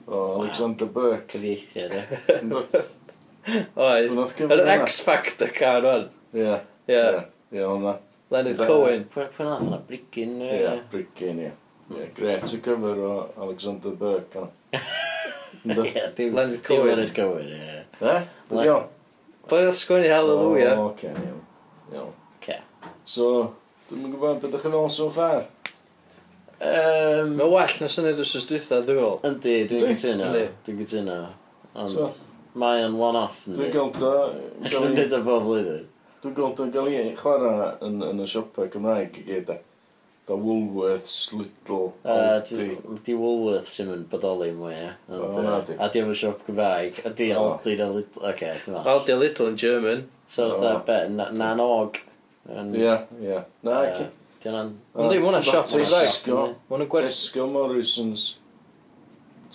[SPEAKER 4] O, Alexander Burke.
[SPEAKER 2] Cyfieithiad, ie.
[SPEAKER 4] Oedd
[SPEAKER 3] Oedd.
[SPEAKER 4] nath cover
[SPEAKER 3] Yr
[SPEAKER 4] hynna?
[SPEAKER 3] X Factor car, wan.
[SPEAKER 4] Ie,
[SPEAKER 3] Ie.
[SPEAKER 4] ie, ie, hwnna.
[SPEAKER 3] Leonard
[SPEAKER 4] Ie.
[SPEAKER 3] Cohen.
[SPEAKER 2] Pwy pwy nath yna brigyn? yy,
[SPEAKER 4] Ie, Brickin, ie. Ie, gret y cover o Alexander Burke. hwnna. Yndw.
[SPEAKER 2] *laughs* Ie, dim
[SPEAKER 3] Leonard
[SPEAKER 2] dim
[SPEAKER 3] Cohen.
[SPEAKER 2] Leonard Cohen, ie.
[SPEAKER 4] Ie,
[SPEAKER 2] Le-
[SPEAKER 4] byddi o? Oh.
[SPEAKER 3] Pwy oedd sgwennu Hallelujah?
[SPEAKER 4] O, oce, iawn. Iawn.
[SPEAKER 2] Oce.
[SPEAKER 4] So, Dwi'n yn gwybod beth ydych chi'n meddwl so far.
[SPEAKER 2] Um,
[SPEAKER 3] Mae well na syniad os ys dwytha, dwi'n fel.
[SPEAKER 2] yndi, dwi'n
[SPEAKER 4] Dwi-
[SPEAKER 2] gytuno.
[SPEAKER 3] Yndi.
[SPEAKER 2] Dwi'n gytuno.
[SPEAKER 4] So.
[SPEAKER 2] Ond mae o'n one-off, yndi.
[SPEAKER 4] Dwi'n gweld o...
[SPEAKER 2] Allwn ni dweud o bob blwyddyn.
[SPEAKER 4] Dwi'n gweld o'n gael ei chwarae yn, yn y siopau Cymraeg i gyd. Dda Woolworths, Lidl,
[SPEAKER 2] Uh,
[SPEAKER 4] Aldi.
[SPEAKER 2] di Woolworth sy'n mynd bodoli mwy, ie. Ond,
[SPEAKER 4] O, na,
[SPEAKER 2] yy,
[SPEAKER 4] di.
[SPEAKER 2] A di efo siop Gymraeg. A di
[SPEAKER 4] O.
[SPEAKER 2] Aldi na Lidl. Oce, dwi'n meddwl.
[SPEAKER 3] Aldi a Lidl yn German.
[SPEAKER 2] So,
[SPEAKER 4] O.
[SPEAKER 2] fatha, be, na- nanog. yn-
[SPEAKER 4] Ie, ie. Na,
[SPEAKER 2] Yy,
[SPEAKER 4] ci.
[SPEAKER 2] Di hwnna'n...
[SPEAKER 3] Yndi, ma' hwnna'n siop
[SPEAKER 4] Tesco,
[SPEAKER 2] Cymraeg.
[SPEAKER 3] Mae nhw'n gwerth...
[SPEAKER 4] Tesco Morrison's.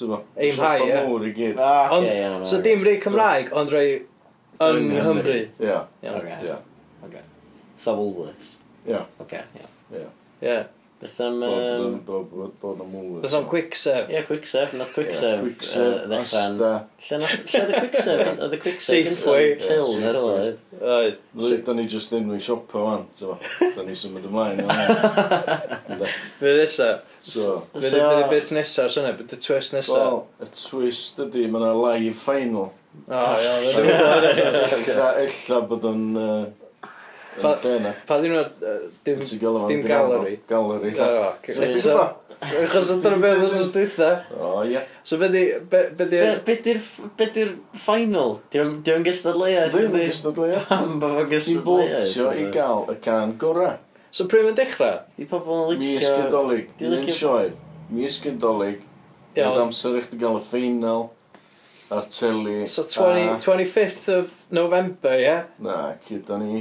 [SPEAKER 4] Dyma.
[SPEAKER 3] Aim high, ie.
[SPEAKER 4] mowr i gyd.
[SPEAKER 2] Ah,
[SPEAKER 3] Ond-
[SPEAKER 2] oce, iawn,
[SPEAKER 3] So
[SPEAKER 2] iawn.
[SPEAKER 3] dim rei Cymraeg, ond rei yng
[SPEAKER 2] Yng
[SPEAKER 3] Nghymru.
[SPEAKER 2] Nghymru.
[SPEAKER 4] Ie,
[SPEAKER 3] Iawn.
[SPEAKER 2] Oce,
[SPEAKER 4] ie,
[SPEAKER 2] oce. So Woolworths.
[SPEAKER 4] ie,
[SPEAKER 2] Oce, ie.
[SPEAKER 4] ie.
[SPEAKER 3] Ie.
[SPEAKER 2] Beth am...
[SPEAKER 4] Bod-
[SPEAKER 2] yym,
[SPEAKER 4] bod- Bod bod yn mowr.
[SPEAKER 3] Bys am quick sef.
[SPEAKER 2] Ie, quicksef. Nath quicksef.
[SPEAKER 4] Quicksef,
[SPEAKER 2] Lle
[SPEAKER 4] Asta.
[SPEAKER 2] nath... Lle oedd y quicksef? Oedd
[SPEAKER 4] *laughs*
[SPEAKER 2] y quicksef
[SPEAKER 3] Safeway.
[SPEAKER 2] gyntaf? Chill,
[SPEAKER 4] Ie,
[SPEAKER 2] neu
[SPEAKER 4] Safeway.
[SPEAKER 2] roedd.
[SPEAKER 3] Oedd.
[SPEAKER 4] Lyd, da ni just enwi siopa fan,
[SPEAKER 3] *laughs*
[SPEAKER 4] ti'n fawr. Da ni symud ymlaen. o. Ynde.
[SPEAKER 3] Fe nesa.
[SPEAKER 4] So,
[SPEAKER 3] Fe nesa bit nesa ar syniad, bit y twist nesa.
[SPEAKER 4] Wel, y twist ydy, mae yna live
[SPEAKER 3] *laughs*
[SPEAKER 4] final.
[SPEAKER 3] O, iawn. dwi'n gwbod.
[SPEAKER 4] Ella, ella bod yn... Uh,
[SPEAKER 3] Pa-
[SPEAKER 4] yn lle na.
[SPEAKER 3] Pa ddyn nhw'n... Dim...
[SPEAKER 4] Ti'n gael
[SPEAKER 3] Dim gallery.
[SPEAKER 4] Gallery.
[SPEAKER 3] O,
[SPEAKER 2] So,
[SPEAKER 3] eto. Achos dyna beth os ys dwytha.
[SPEAKER 4] O, ie.
[SPEAKER 3] So be di... Be be di...
[SPEAKER 2] Be di'r... Be di'r final? Diolch yn gystadleuaeth.
[SPEAKER 4] Ddim
[SPEAKER 2] yndi?
[SPEAKER 3] *laughs*
[SPEAKER 4] yn gystadleuaeth.
[SPEAKER 2] *laughs* Pam bod fo'n
[SPEAKER 4] Ti'n
[SPEAKER 2] gystadleuaeth?
[SPEAKER 4] bwtio i gael y can gorau.
[SPEAKER 3] So pryd mae'n dechrau?
[SPEAKER 2] Di pobl yn
[SPEAKER 4] Mis
[SPEAKER 2] licio...
[SPEAKER 4] gydolig.
[SPEAKER 2] Dwi'n licio-
[SPEAKER 4] Mi'n sioe. Mis gydolig. Mae'n
[SPEAKER 3] Iawn.
[SPEAKER 4] amser i chdi gael y ffeinal. A'r teli.
[SPEAKER 3] So 20, 25th of November, ie? Yeah?
[SPEAKER 4] Na, cyd o'n i.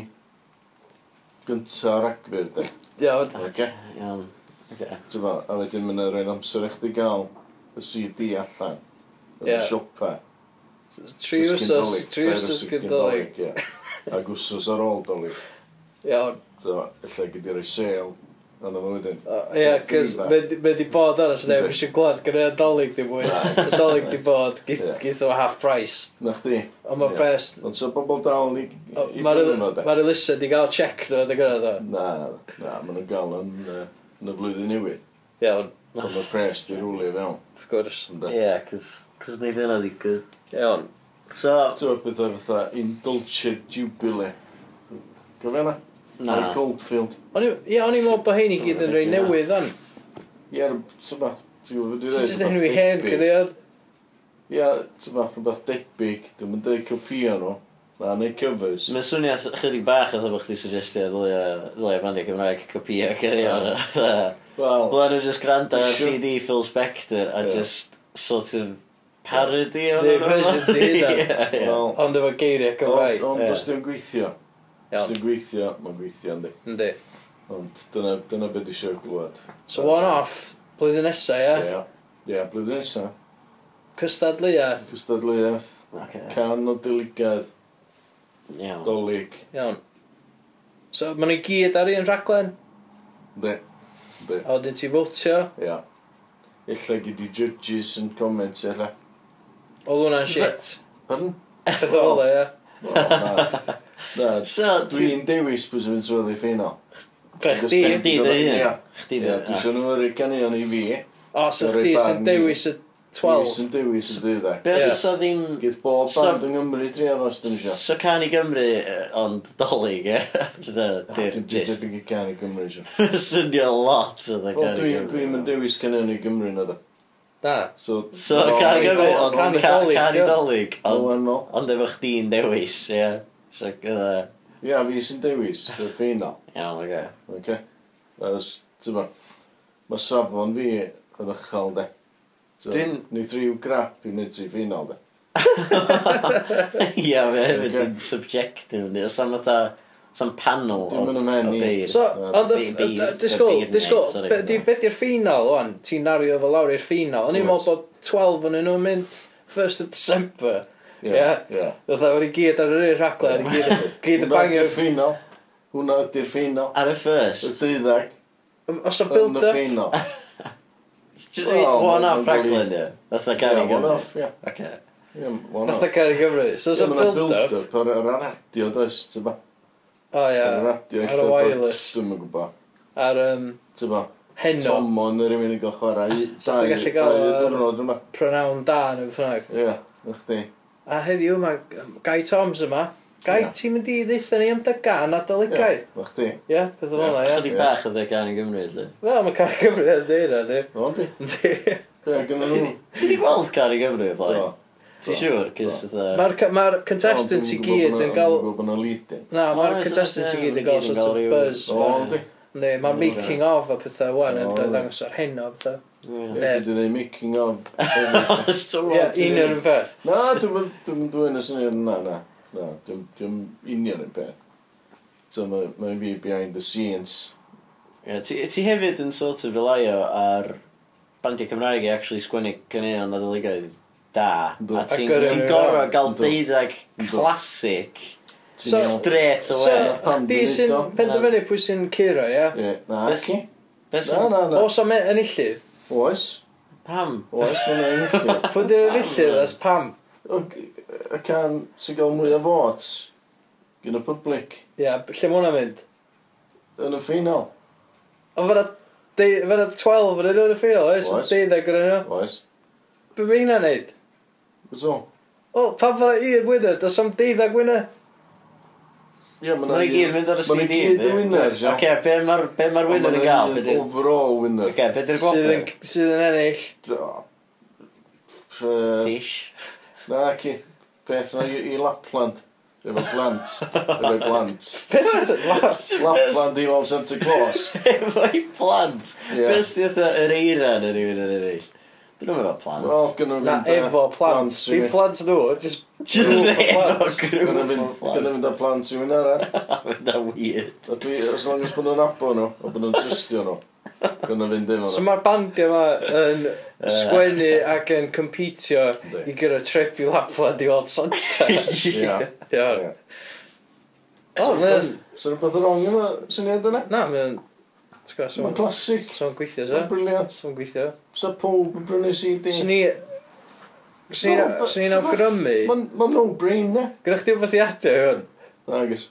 [SPEAKER 4] Gynta o'r agfyr, de.
[SPEAKER 3] Iawn.
[SPEAKER 4] Oce?
[SPEAKER 2] Iawn. Oce.
[SPEAKER 4] Ti'n fawr, a wedyn mynd yr un amser i chdi gael y CD allan. Yn
[SPEAKER 3] Ie.
[SPEAKER 4] y siopa.
[SPEAKER 3] Tri
[SPEAKER 4] Jyst
[SPEAKER 3] wsos,
[SPEAKER 4] Gyndolig,
[SPEAKER 3] tri
[SPEAKER 4] tair
[SPEAKER 3] wsos
[SPEAKER 4] wsos
[SPEAKER 3] gydolig.
[SPEAKER 4] Gyndolig, ie. Ac wsos ar ôl dolig.
[SPEAKER 3] Iawn.
[SPEAKER 4] So, illa gyd i'r sale. Ond o'n wedyn.
[SPEAKER 3] O, Ie, cys
[SPEAKER 4] Fever.
[SPEAKER 3] mae di bod ar ysdeb,
[SPEAKER 4] Fever.
[SPEAKER 3] mae eisiau glad gyda adolyg di fwy. Adolyg di bod,
[SPEAKER 4] Ah. Ie.
[SPEAKER 3] gith o half price.
[SPEAKER 4] Na chdi.
[SPEAKER 3] Ond mae
[SPEAKER 4] Ie.
[SPEAKER 3] best...
[SPEAKER 4] Ond so bobl dal i, i, i bwyd nhw, de.
[SPEAKER 3] Mae'r Elisa di gael check nhw ydy gyda ddo.
[SPEAKER 4] Na, na, maen nhw'n gael yn, yy, yn y flwyddyn newydd.
[SPEAKER 3] Iawn,
[SPEAKER 4] Pan mae'r pres di rwlio fewn.
[SPEAKER 3] of course.
[SPEAKER 4] Ynde?
[SPEAKER 2] Ie, cos... Cos neud yna di good.
[SPEAKER 3] Iawn.
[SPEAKER 2] So...
[SPEAKER 4] Ti'n gwybod beth o'r fatha Indulgent Jubilee. Gofio na?
[SPEAKER 2] Na.
[SPEAKER 4] Neu Coldfield.
[SPEAKER 3] O'n i- Ie, o'n i'n meddwl bod hyn i gyd yn rhai
[SPEAKER 2] Ie.
[SPEAKER 3] newydd o'n.
[SPEAKER 4] Ie, r- ti'n gwybod, ti'n gwybod beth
[SPEAKER 3] Ti'n
[SPEAKER 4] dwi'n
[SPEAKER 3] just enw i hen gyda'r...
[SPEAKER 4] Ie, ti'n gwybod, rhywbeth debyg. Dwi'n mynd i copio nhw. Na, neu covers.
[SPEAKER 2] Mae'n swnio ath- chydig bach oedd bod chdi suggestio ddylio bandiau Cymraeg copia gyda'r
[SPEAKER 4] Wel,
[SPEAKER 2] Dyla nhw just gwrando ar
[SPEAKER 4] Sure.
[SPEAKER 2] CD Phil Spector a
[SPEAKER 4] Ie.
[SPEAKER 2] just sort of parody o'n
[SPEAKER 3] Neu version ti
[SPEAKER 2] *laughs*
[SPEAKER 3] hynna.
[SPEAKER 2] Ie, ie.
[SPEAKER 4] wel,
[SPEAKER 3] Ond efo geiriau
[SPEAKER 4] Ond
[SPEAKER 3] Cymraeg.
[SPEAKER 4] ond
[SPEAKER 2] Ie.
[SPEAKER 4] os dwi'n gweithio, os
[SPEAKER 3] Iawn,
[SPEAKER 4] dwi'n gweithio, mae'n gweithio yndi.
[SPEAKER 3] yndi.
[SPEAKER 4] Ond dyna, dyna beth eisiau glwad.
[SPEAKER 3] So one off, blwyddyn nesa, ie?
[SPEAKER 4] Ie, ie, blwyddyn nesa.
[SPEAKER 3] Cystadleuaeth.
[SPEAKER 4] Cystadleuaeth,
[SPEAKER 2] Oce.
[SPEAKER 4] can o diligedd,
[SPEAKER 2] Iawn.
[SPEAKER 4] dolig,
[SPEAKER 3] Iawn. So, maen nhw i gyd ar un raglen.
[SPEAKER 4] yndi, yndi,
[SPEAKER 3] A wedyn ti fwtio.
[SPEAKER 4] ie. Illa gyd i judges yn comment, e, illa.
[SPEAKER 3] Oedd hwnna'n shit.
[SPEAKER 4] Pardon?
[SPEAKER 3] Beth oedd e, ie?
[SPEAKER 4] Wel, Na, na.
[SPEAKER 2] So, ti'n...
[SPEAKER 4] Dwi'n dewis pwy sy'n mynd trwy'r ffeinal.
[SPEAKER 3] Fe chdi.
[SPEAKER 2] Chdi dy hun.
[SPEAKER 4] Ie,
[SPEAKER 2] Chdi
[SPEAKER 4] ie,
[SPEAKER 2] dy
[SPEAKER 4] dwi eisiau nhw'n canion i fi.
[SPEAKER 3] O, so
[SPEAKER 4] Dwi'n rhoi
[SPEAKER 3] chdi
[SPEAKER 4] barn
[SPEAKER 3] sy'n
[SPEAKER 4] i-
[SPEAKER 3] dewis y
[SPEAKER 4] Dwi
[SPEAKER 3] 12.
[SPEAKER 4] sy'n dewis yn dweud e.
[SPEAKER 2] Be os
[SPEAKER 3] Ie.
[SPEAKER 2] oes o ddim...
[SPEAKER 4] Gydd bob
[SPEAKER 2] So-
[SPEAKER 4] band yng Nghymru tri efo os dyn eisiau.
[SPEAKER 2] So can i Gymru, yy, ond dolyg, ie? *laughs* Dyna'r
[SPEAKER 4] Dwi'n
[SPEAKER 2] gist.
[SPEAKER 4] debyg i can i Gymru eisiau.
[SPEAKER 2] Swnio lot o dda
[SPEAKER 4] Wel,
[SPEAKER 2] can i
[SPEAKER 4] dwi'n dwi
[SPEAKER 2] Gymru.
[SPEAKER 4] mynd dewis canion i Gymru na da.
[SPEAKER 3] Na.
[SPEAKER 4] So,
[SPEAKER 2] So can i Gymru,
[SPEAKER 3] Dolig,
[SPEAKER 2] ond
[SPEAKER 3] can i
[SPEAKER 2] ca-
[SPEAKER 3] dolig,
[SPEAKER 2] can
[SPEAKER 3] ie.
[SPEAKER 2] i dolyg, ond...
[SPEAKER 4] Ond...
[SPEAKER 2] Ond efo chdi'n dewis, ie? So gyda...
[SPEAKER 4] Ia, fi sy'n dewis, y ffeinal.
[SPEAKER 2] Iawn, oge.
[SPEAKER 4] Okay? As, ti'n mae safon fi yn ychel, de. So,
[SPEAKER 2] Dwi'n-
[SPEAKER 4] Neith rhyw grap i wneud ti ffeinal, de.
[SPEAKER 2] Ie, fe hefyd
[SPEAKER 4] Oce.
[SPEAKER 2] yn subjective, ni. Os am fatha... Os am panel
[SPEAKER 4] Dim
[SPEAKER 2] o
[SPEAKER 4] yn ymhen
[SPEAKER 2] o
[SPEAKER 4] i.
[SPEAKER 2] beirdd.
[SPEAKER 3] So,
[SPEAKER 4] Na,
[SPEAKER 3] ond y-
[SPEAKER 2] beer-
[SPEAKER 3] y-
[SPEAKER 2] beer-
[SPEAKER 3] y- disgwyl,
[SPEAKER 2] beer net,
[SPEAKER 3] disgwyl,
[SPEAKER 2] sorry.
[SPEAKER 3] be- di- be di'r ffinal o'n? Ti'n nario fo lawr i'r ffinal. O'n i'n
[SPEAKER 4] Wyt.
[SPEAKER 3] meddwl bod 12 yn nhw'n mynd 1st of December. Ie.
[SPEAKER 4] Ia.
[SPEAKER 3] Oedd e wedi gyd ar yr un raglen, i gyd, gyd y
[SPEAKER 4] Hwna
[SPEAKER 3] bangio.
[SPEAKER 4] ydy'r ffeinal. Hwna ydy'r ffeinal.
[SPEAKER 2] Ar y
[SPEAKER 4] Y
[SPEAKER 2] first.
[SPEAKER 4] ddeuddag
[SPEAKER 3] Os o
[SPEAKER 4] yn y
[SPEAKER 3] build-up, *laughs*
[SPEAKER 4] ffeinal.
[SPEAKER 2] Just
[SPEAKER 4] Wel,
[SPEAKER 2] one
[SPEAKER 4] ma'n
[SPEAKER 2] off raglen,
[SPEAKER 4] golygu-
[SPEAKER 2] ie? Fatha
[SPEAKER 4] Ia,
[SPEAKER 2] can i
[SPEAKER 4] one
[SPEAKER 2] Gymru.
[SPEAKER 4] off, ia.
[SPEAKER 2] Oce.
[SPEAKER 4] Ia, one
[SPEAKER 3] nath o
[SPEAKER 4] off.
[SPEAKER 3] cael ei Gymru. So os
[SPEAKER 4] Ia,
[SPEAKER 3] o
[SPEAKER 4] ma' 'na
[SPEAKER 3] build-up,
[SPEAKER 4] build-up ar ar y radio, does, ti'n ba?
[SPEAKER 3] o
[SPEAKER 4] Ar y
[SPEAKER 3] ia,
[SPEAKER 4] radio,
[SPEAKER 3] Ar y
[SPEAKER 4] ella bod-
[SPEAKER 3] wireless.
[SPEAKER 4] Dwi'm yn gwybod.
[SPEAKER 3] ar yym,
[SPEAKER 4] Ti'n ba?
[SPEAKER 3] heno,
[SPEAKER 4] Tomon yr rywun yn cael chwarae i-
[SPEAKER 3] Sa chdi'n
[SPEAKER 4] dau
[SPEAKER 3] gallu gael,
[SPEAKER 4] dau
[SPEAKER 3] yy,
[SPEAKER 4] diwrnod yma.
[SPEAKER 3] pronawn da neu beth bynnag.
[SPEAKER 4] Ie, na chdi.
[SPEAKER 3] A heddiw mae Guy Toms yma, Gai ti'n mynd i ddeitha ni am dagan adolygaeth?
[SPEAKER 4] Ie, na chdi.
[SPEAKER 3] Ie, peth o'n hwnna, ie.
[SPEAKER 2] Chydig bach o ddeg gan i Gymru, dwi.
[SPEAKER 3] Wel, mae car Cymru yn ddeira, di.
[SPEAKER 4] O, di.
[SPEAKER 3] Yndi.
[SPEAKER 4] Ie, gynnu nhw.
[SPEAKER 2] Ti di gweld car i Gymru,
[SPEAKER 4] Do.
[SPEAKER 2] boi? Ti siwr? Cys ydw...
[SPEAKER 3] Mae'r c- Mae'r contestants i gyd yn gael...
[SPEAKER 4] Gwbl bod nhw'n leading.
[SPEAKER 3] Na,
[SPEAKER 2] Oes,
[SPEAKER 3] mae'r
[SPEAKER 2] oes,
[SPEAKER 3] contestants i
[SPEAKER 2] ie,
[SPEAKER 3] gyd yn
[SPEAKER 2] ma'
[SPEAKER 3] gael
[SPEAKER 2] nhw gyd yn
[SPEAKER 3] sort
[SPEAKER 2] gael
[SPEAKER 3] of
[SPEAKER 2] ryw-
[SPEAKER 3] buzz.
[SPEAKER 4] O, di.
[SPEAKER 3] Ne, mae'r making of a pethau wan yn
[SPEAKER 4] O,
[SPEAKER 3] dod
[SPEAKER 4] ie.
[SPEAKER 3] dangos ar hyn o bethau.
[SPEAKER 4] Ie, dwi 'di neud making of.
[SPEAKER 3] Ie, un o'r un peth.
[SPEAKER 4] Na, dwi'n dwi'n dwi'n y syniad yna, na. Na, dwi'n dwi'n union yn peth. So mae ma fi behind the scenes.
[SPEAKER 2] Ie, Ti ti hefyd yn sort of relio ar bandiau Cymraeg i actually sgwennu cynnion a ddyligaeth da.
[SPEAKER 4] Yndw.
[SPEAKER 2] A ti'n
[SPEAKER 3] Agor i
[SPEAKER 2] ti
[SPEAKER 3] rywun.
[SPEAKER 2] gorau gael
[SPEAKER 4] Yndw.
[SPEAKER 2] deuddag
[SPEAKER 4] Yndw.
[SPEAKER 2] classic
[SPEAKER 4] Ti'n
[SPEAKER 3] So-
[SPEAKER 4] iawn.
[SPEAKER 2] straight
[SPEAKER 3] So,
[SPEAKER 2] away.
[SPEAKER 4] Pam
[SPEAKER 3] di
[SPEAKER 4] dwi'n
[SPEAKER 3] sy'n
[SPEAKER 4] neud o?
[SPEAKER 3] penderfynu pwy sy'n curo, ie?
[SPEAKER 4] Ie, na,
[SPEAKER 2] Beth-
[SPEAKER 4] ac i.
[SPEAKER 2] Be'
[SPEAKER 4] Na,
[SPEAKER 2] sy'n-
[SPEAKER 4] na, na.
[SPEAKER 3] Os am e- enillydd,
[SPEAKER 4] Oes,
[SPEAKER 2] Pam?
[SPEAKER 4] oes, mae'n enillydd.
[SPEAKER 3] pwy di'r enillydd, as pam?
[SPEAKER 4] Y can sy'n gael mwy o votes gyda public
[SPEAKER 3] Ie, lle mae hwnna'n mynd?
[SPEAKER 4] yn y ffinal.
[SPEAKER 3] Ond fyna deu- fyna 12 yn yr un ffeirol, oes?
[SPEAKER 4] Oes.
[SPEAKER 3] Oes. Deuddeg yn yno.
[SPEAKER 4] Oes.
[SPEAKER 3] Be mae hynna'n neud?
[SPEAKER 4] Beth o?
[SPEAKER 3] O, pam fyna un wyna? Does am deuddeg wyna?
[SPEAKER 4] Ie, mae'n
[SPEAKER 2] Mae'n i gyd mynd ar y CD.
[SPEAKER 4] Mae'n i gyd
[SPEAKER 2] yndi?
[SPEAKER 4] yn winners, ia.
[SPEAKER 2] Oce, be ma'r be ma'r winner yn gael? Be di'r-
[SPEAKER 4] Overall winner.
[SPEAKER 2] Oce, be di'r
[SPEAKER 3] Sydd
[SPEAKER 2] gwobrau?
[SPEAKER 3] yn, sydd yn ennill.
[SPEAKER 4] Do. Yy,
[SPEAKER 2] Fish. *laughs*
[SPEAKER 4] Na, ac i. Peth na i i Lapland. Efo glant. Efo glant.
[SPEAKER 3] *laughs* Beth yw'r lot?
[SPEAKER 4] Lapland i fel Santa Claus.
[SPEAKER 2] Efo'i plant.
[SPEAKER 4] Ie.
[SPEAKER 2] Beth sydd eitha yr eira yn yr un yn eraill? Dyn nhw'n efo
[SPEAKER 4] Wel,
[SPEAKER 2] plant.
[SPEAKER 4] gynnu
[SPEAKER 3] Na, efo plant. Dim plant nhw, just...
[SPEAKER 2] Just
[SPEAKER 3] grŵp o
[SPEAKER 2] efo
[SPEAKER 3] plant.
[SPEAKER 4] Gynnu
[SPEAKER 2] grŵp o plant.
[SPEAKER 4] fynd â plant i fynd arall.
[SPEAKER 2] Fyna weird.
[SPEAKER 4] A dwi, os long as bod nhw'n abo nhw, a bod nhw'n trystio nhw, gynnu fynd efo
[SPEAKER 3] So
[SPEAKER 4] nhw.
[SPEAKER 3] mae'r bandiau yma yn sgwennu ac yn competio
[SPEAKER 4] Yndi.
[SPEAKER 3] i gyrra trip i Lapland i weld sunset.
[SPEAKER 4] Ia.
[SPEAKER 3] Iawn.
[SPEAKER 4] Ie.
[SPEAKER 3] O, mae'n...
[SPEAKER 4] So rhywbeth yn wrong efo syniad yna?
[SPEAKER 3] Na, mae'n... T'w gwybod, so'n
[SPEAKER 4] Mae'n classic.
[SPEAKER 3] so gweithio,
[SPEAKER 4] Mae'n
[SPEAKER 3] so?
[SPEAKER 4] briliant.
[SPEAKER 3] So'n gweithio.
[SPEAKER 4] So pob yn brynu CD.
[SPEAKER 3] Swn i... Swn
[SPEAKER 4] No, but-
[SPEAKER 3] i- swn i'n
[SPEAKER 4] so ma-
[SPEAKER 3] awgrymu...
[SPEAKER 4] Mae'n no-brainer.
[SPEAKER 3] Gwna chdi wbeth i adio hwn?
[SPEAKER 4] Agus.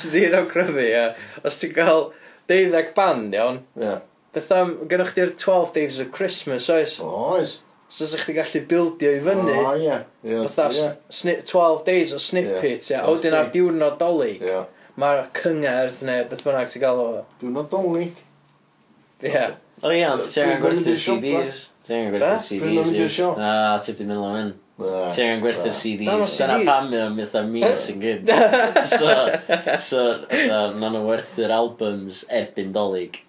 [SPEAKER 3] Swn i'n awgrymu, ia. Os ti'n cael 12 band, iawn,
[SPEAKER 4] Ie.
[SPEAKER 3] Beth am, gynnwch chdi'r 12 Days of Christmas, oes?
[SPEAKER 4] Oes.
[SPEAKER 3] So sa'ch chdi gallu bildio i fyny,
[SPEAKER 4] O, ie. Ie.
[SPEAKER 3] fatha
[SPEAKER 4] ie.
[SPEAKER 3] s- snip- 12 Days o snippets, ia.
[SPEAKER 4] Ie.
[SPEAKER 3] A wedyn ar diwrnod dolig,
[SPEAKER 4] Ie.
[SPEAKER 3] mae'r cyngerdd neu beth bynnag ti'n gael o.
[SPEAKER 4] Dwi'n nadolig.
[SPEAKER 3] Ia.
[SPEAKER 2] O ie, ond ti angen
[SPEAKER 4] Dwi'n mynd
[SPEAKER 2] gwerthu'r
[SPEAKER 4] i'r siop,
[SPEAKER 2] CDs. Ti angen
[SPEAKER 3] Be?
[SPEAKER 2] gwerthu'r
[SPEAKER 4] Dwi'n mynd i'r
[SPEAKER 2] CDs. ie.
[SPEAKER 4] siop.
[SPEAKER 2] Na, ti ddim yn mynd lan. Ti angen gwerthu'r
[SPEAKER 3] Na, ma'
[SPEAKER 2] CDs. Dyna
[SPEAKER 3] CD.
[SPEAKER 2] pam mae'n mynd am mis yn
[SPEAKER 3] *laughs*
[SPEAKER 2] gyd. So, so, na nhw werthu'r albums erbyn dolyg.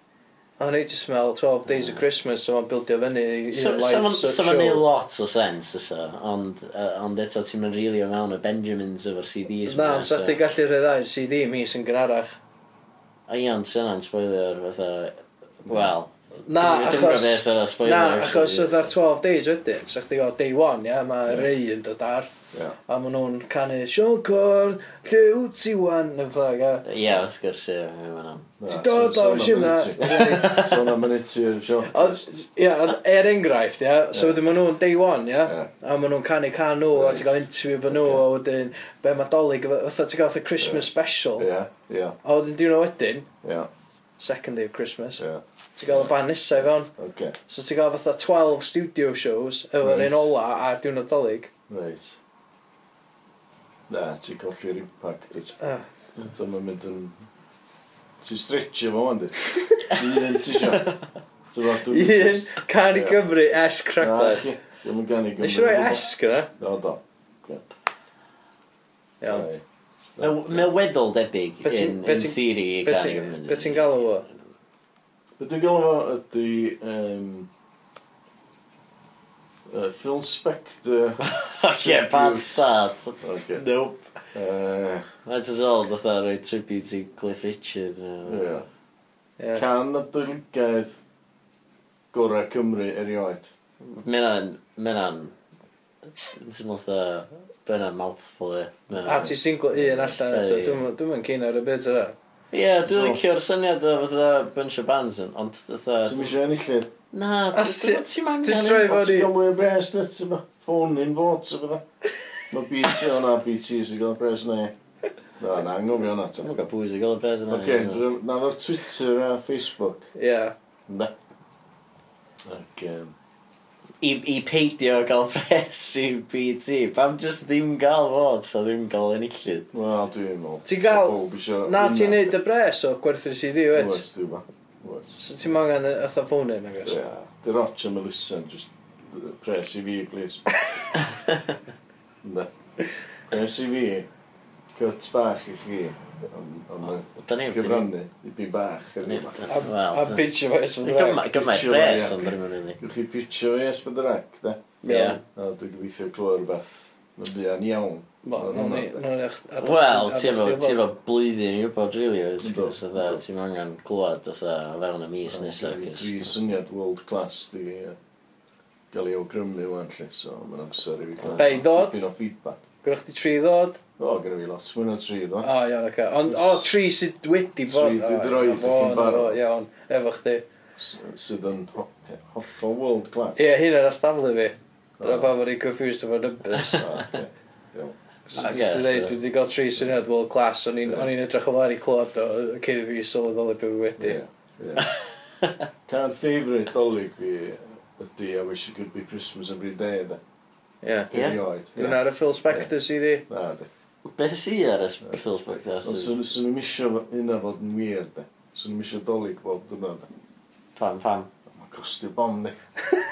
[SPEAKER 3] A ni just smell 12 Days
[SPEAKER 4] Mm.
[SPEAKER 3] of Christmas, so mae'n bildio fyny i'r
[SPEAKER 2] So
[SPEAKER 3] live so
[SPEAKER 2] ma'n neud
[SPEAKER 3] show.
[SPEAKER 2] lot o sens ysa, ond, uh, ond eto ti'n mynd rili o mewn y Benjamins efo'r CDs.
[SPEAKER 3] Na, ond sa'ch chdi gallu rhyddau'r CD mis yn gynharach.
[SPEAKER 2] A iawn, sy'n angen spoiler fatha... Wel,
[SPEAKER 3] Na,
[SPEAKER 2] dwi'n gwybod
[SPEAKER 3] achos...
[SPEAKER 2] beth yna spoiler.
[SPEAKER 3] Na, achos
[SPEAKER 2] actually.
[SPEAKER 3] oedd ar 12 days wedyn, sa'ch chdi o day one, ia, mae rei yn dod ar,
[SPEAKER 4] Ie.
[SPEAKER 3] a maen nhw'n canu Sean Corn, lle wyt ti wan, neu flag, ia.
[SPEAKER 2] Ie, wrth gwrs, ie, ie, ma'n am.
[SPEAKER 3] Ti dod o'r gym na?
[SPEAKER 4] *laughs* So na mynd i'r siop.
[SPEAKER 3] Ond, ia, ond er enghraifft, ia, so wedyn maen nhw'n day one, ia,
[SPEAKER 4] Ie.
[SPEAKER 3] a maen nhw'n canu can nhw, a
[SPEAKER 4] Reit.
[SPEAKER 3] ti'n cael interview efo nhw, a wedyn, be mae dolyg, efo- fatha ti'n cael the Christmas special,
[SPEAKER 4] Ie. Ie.
[SPEAKER 3] a wedyn diwrnod wedyn,
[SPEAKER 4] Ie.
[SPEAKER 3] second day of Christmas,
[SPEAKER 4] Ie.
[SPEAKER 3] ti'n cael y band nesaf i fewn,
[SPEAKER 4] Oce.
[SPEAKER 3] so ti'n cael fatha 12 studio shows, efo'r
[SPEAKER 4] Reit.
[SPEAKER 3] un ola a'r diwrnod dolyg.
[SPEAKER 4] Reit. Na, ti'n colli'r impact. wyt.
[SPEAKER 3] Ah.
[SPEAKER 4] So ma'n mynd yn... Ti'n stretchio fo, ond it. *laughs* Un ti siop. Ti'n fath
[SPEAKER 3] Un, can i
[SPEAKER 4] Ie.
[SPEAKER 3] Gymru, S
[SPEAKER 4] Na,
[SPEAKER 3] craglen.
[SPEAKER 4] ci. Dwi'n mynd gan i
[SPEAKER 3] Nes i roi S gyda?
[SPEAKER 4] No, do.
[SPEAKER 3] Iawn.
[SPEAKER 4] Ie.
[SPEAKER 2] Mae- Mae weddol debyg
[SPEAKER 3] Be' ti'n-
[SPEAKER 2] in,
[SPEAKER 3] be'
[SPEAKER 2] in
[SPEAKER 3] ti'n-
[SPEAKER 2] theory i
[SPEAKER 3] Be
[SPEAKER 2] gael ei
[SPEAKER 3] ti'n-
[SPEAKER 2] gymryd.
[SPEAKER 3] be' ti'n galw o?
[SPEAKER 4] Be dwi'n gael efo ydy... Um, uh, Phil Spector...
[SPEAKER 2] Ie, bad start.
[SPEAKER 4] Okay.
[SPEAKER 2] Nope.
[SPEAKER 4] Uh,
[SPEAKER 2] That's as all, dotha roi tribute i Cliff Richard.
[SPEAKER 4] yeah.
[SPEAKER 3] Ie.
[SPEAKER 4] Can y dyligaeth gorau Cymru erioed.
[SPEAKER 2] Mena'n, mena'n, yn syml dda, mena'n mouthful e.
[SPEAKER 3] A ti single un allan eto,
[SPEAKER 2] Ie.
[SPEAKER 3] dwi'n mynd cyn ar y byd yna.
[SPEAKER 2] Ie,
[SPEAKER 4] So-
[SPEAKER 2] dwi'n licio'r syniad o fatha bunch o bands yn, ond fatha...
[SPEAKER 4] Ti'n mysio enillydd?
[SPEAKER 2] Na,
[SPEAKER 3] A
[SPEAKER 2] ti- ti'n
[SPEAKER 3] Ti'n
[SPEAKER 2] mangan...
[SPEAKER 3] troi
[SPEAKER 4] O,
[SPEAKER 3] fod i...
[SPEAKER 4] ti'n gael mwy o bres dy, ti'n ba? Ffôn i'n fod, ti'n bydda? Mae BT o na, BT sy'n gael bres neu. Na, na, anghofio hwnna,
[SPEAKER 2] Dwi'n
[SPEAKER 4] ti'n.
[SPEAKER 2] gael bwys i gael y pres yna.
[SPEAKER 4] Oce, dwi- na fo'r Twitter a Facebook.
[SPEAKER 3] Ie.
[SPEAKER 4] Ynda. Ac, um,
[SPEAKER 2] i, i peidio gael *laughs* pres i BT. Pam just ddim gael fod, so ddim gael enillydd.
[SPEAKER 4] Wel, dwi'n meddwl.
[SPEAKER 3] Ti'n gael- Na, ti'n
[SPEAKER 4] neud...
[SPEAKER 3] neud y bres o gwerthu CD, wyt?
[SPEAKER 4] Wes, dwi'n meddwl. Wes.
[SPEAKER 3] So ti'n mangan y fatha ffôn yn, agos?
[SPEAKER 4] Ie. Di Roger Melissa, just uh, pres i fi,
[SPEAKER 3] *laughs*
[SPEAKER 4] please. Ne. Pres i fi. Cyt bach i chi. Am- am y
[SPEAKER 2] Da ni...
[SPEAKER 4] Gyfrannu i bi bach. heddiw 'ma.
[SPEAKER 3] A, a
[SPEAKER 2] Wel,
[SPEAKER 3] pitch o fes yn
[SPEAKER 2] gymaint
[SPEAKER 4] Pitcher,
[SPEAKER 2] bres,
[SPEAKER 4] ie.
[SPEAKER 2] ond ddim yn unig.
[SPEAKER 4] Gwch chi pitio i esbydrac, da?
[SPEAKER 2] Ie.
[SPEAKER 4] A dwi'n gobeithio clywed rhywbeth. Mae'n buan iawn.
[SPEAKER 2] Wel, ti efo, ti efo blwyddyn i wybod, really, oes,
[SPEAKER 4] Yndw.
[SPEAKER 2] cos oedd ti'n angen clywed, oedd o fewn y mis nesaf,
[SPEAKER 4] Dwi'n
[SPEAKER 2] cos...
[SPEAKER 4] dwi syniad world class di yy, gael ei awgrymu wan lle, so mae'n amser i fi gael.
[SPEAKER 3] Be' i ddod?
[SPEAKER 4] dipyn o feedback.
[SPEAKER 3] Gwyrwch di tri ddod?
[SPEAKER 4] O, gyda fi lot, mwy na tri
[SPEAKER 3] O,
[SPEAKER 4] ddod.
[SPEAKER 3] iawn, oce. Ond, o, tri sydd wedi bod.
[SPEAKER 4] Tri dwi 'di
[SPEAKER 3] O, iawn,
[SPEAKER 4] roid i
[SPEAKER 3] fo,
[SPEAKER 4] chi'n
[SPEAKER 3] na
[SPEAKER 4] barod.
[SPEAKER 3] fo, Iawn, efo chdi.
[SPEAKER 4] S- Sydd yn ho- hollol world class.
[SPEAKER 3] Ie, hyn yn alldaflu fi. Dyna
[SPEAKER 4] O.
[SPEAKER 3] pa fod i'n confused efo
[SPEAKER 4] *laughs*
[SPEAKER 3] numbers.
[SPEAKER 4] O, ocê. Iawn.
[SPEAKER 3] So,
[SPEAKER 2] I
[SPEAKER 3] Just
[SPEAKER 2] guess,
[SPEAKER 3] to dweud,
[SPEAKER 2] uh,
[SPEAKER 3] dwi wedi cael tri syniad world class, o'n i'n o'n i'n edrych o fawr i clod o, cyn i fi sylweddol i bywyd wedi.
[SPEAKER 4] Ie, ie. Can favourite dolyg fi ydy I wish it could be Christmas every day, da.
[SPEAKER 3] Ie.
[SPEAKER 2] Ie.
[SPEAKER 4] Erioed. Ie.
[SPEAKER 3] Dwi'n ar y Phil Spector sydd *laughs* i.
[SPEAKER 4] Na, da.
[SPEAKER 2] Be sy ar y Phil Spector?
[SPEAKER 4] Ond swn swn i'm isio fo- hynna fod yn wir, da. Swn i'm isio dolyg bob dyna, da.
[SPEAKER 2] Pam, pam.
[SPEAKER 4] Mae'n costio bom, da.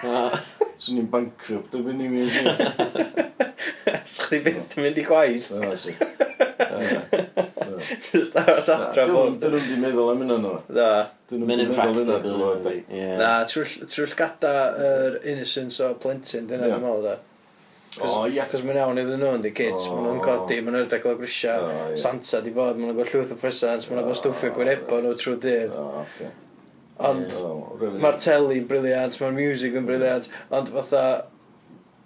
[SPEAKER 2] O,
[SPEAKER 4] Swn i'n bankrupt, da, byn i mi. swn i.
[SPEAKER 3] Sa'ch chdi byth yn mynd i gwaith. *laughs*
[SPEAKER 4] Na, si.
[SPEAKER 3] Just aros adra
[SPEAKER 4] Dyn
[SPEAKER 3] bod.
[SPEAKER 4] nhw'n di meddwl am yna nhw.
[SPEAKER 3] Na.
[SPEAKER 4] Dyn nhw'n
[SPEAKER 2] Mynd
[SPEAKER 4] di
[SPEAKER 2] yn
[SPEAKER 4] meddwl yna
[SPEAKER 2] practical.
[SPEAKER 4] nhw.
[SPEAKER 2] ie.
[SPEAKER 3] Na, trwy'r gada yr innocence o plentyn, dyna
[SPEAKER 4] Ie.
[SPEAKER 3] dwi'n meddwl da.
[SPEAKER 4] O, ia.
[SPEAKER 3] Cos mae'n iawn iddyn nhw, yndi kids,
[SPEAKER 4] O.
[SPEAKER 3] maen nhw'n codi, maen nhw'n edrych o grisia,
[SPEAKER 4] O, ie.
[SPEAKER 3] Santa di bod, maen nhw'n gweld llwyth o presents, maen nhw'n gweld stwffio gwynebo nhw trwy dydd.
[SPEAKER 4] O, oce.
[SPEAKER 3] Ond
[SPEAKER 4] O, really.
[SPEAKER 3] Mae'r telly'n briliant, mae'r music yn briliant, ond fatha,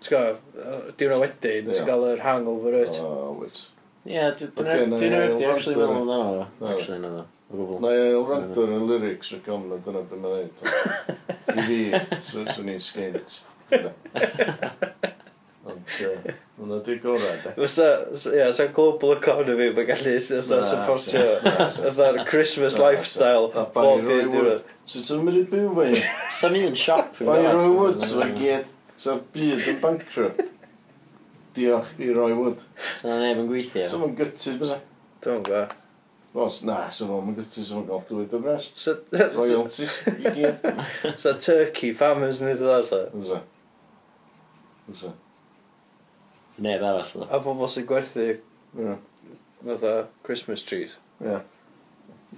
[SPEAKER 3] ti'n gwybod, diwrna wedyn,
[SPEAKER 4] Ie.
[SPEAKER 3] ti'n cael yr hangover wyt.
[SPEAKER 4] O, wyt.
[SPEAKER 2] Ie, dwi- dwi'n
[SPEAKER 4] Ocê,
[SPEAKER 2] dwi'n
[SPEAKER 4] na
[SPEAKER 2] dwi'n
[SPEAKER 4] i
[SPEAKER 2] dwi'n actually
[SPEAKER 4] wrando.
[SPEAKER 2] meddwl amdano fo.
[SPEAKER 4] Na.
[SPEAKER 2] Actually, na ddo. O gwbl.
[SPEAKER 4] Na i elrando yn y lyrics o'r gofna, dyna beth mae'n dweud. I fi, so- swn i'n sgint. Na. Ond, yy, hwnna di gorau, de.
[SPEAKER 3] Fysa, s- ie, sa'n global economy mae'n gallu s- fatha
[SPEAKER 4] Na,
[SPEAKER 3] supportio
[SPEAKER 4] na, sa.
[SPEAKER 3] fatha'r Christmas
[SPEAKER 4] Na, sa.
[SPEAKER 3] lifestyle
[SPEAKER 4] A
[SPEAKER 3] bob
[SPEAKER 4] Barry Roy
[SPEAKER 3] dydd
[SPEAKER 4] Wood.
[SPEAKER 3] diwrnod.
[SPEAKER 4] So ti'n mynd i byw fe?
[SPEAKER 2] Sa'n un siop. yn
[SPEAKER 4] Barry
[SPEAKER 2] dod.
[SPEAKER 4] Roy Wood, so'r gyd. So'r byd yn bankrupt. Diolch i Roy Wood.
[SPEAKER 2] Sa'n neb yn gweithio.
[SPEAKER 4] So mae'n gytid, bysa?
[SPEAKER 3] Dwi'n gwybod.
[SPEAKER 4] Os, na, so fo'n mynd gytid, so fo'n gael llwyth o bres.
[SPEAKER 3] Sa, *laughs*
[SPEAKER 4] Royalties, i gyd.
[SPEAKER 3] sa turkey farmers yn ei ddod sa.
[SPEAKER 4] Fysa. Fysa.
[SPEAKER 2] Neb arall, ddo.
[SPEAKER 3] A pobl sy'n gwerthu
[SPEAKER 4] Ie.
[SPEAKER 3] fatha Christmas trees.
[SPEAKER 4] Ie.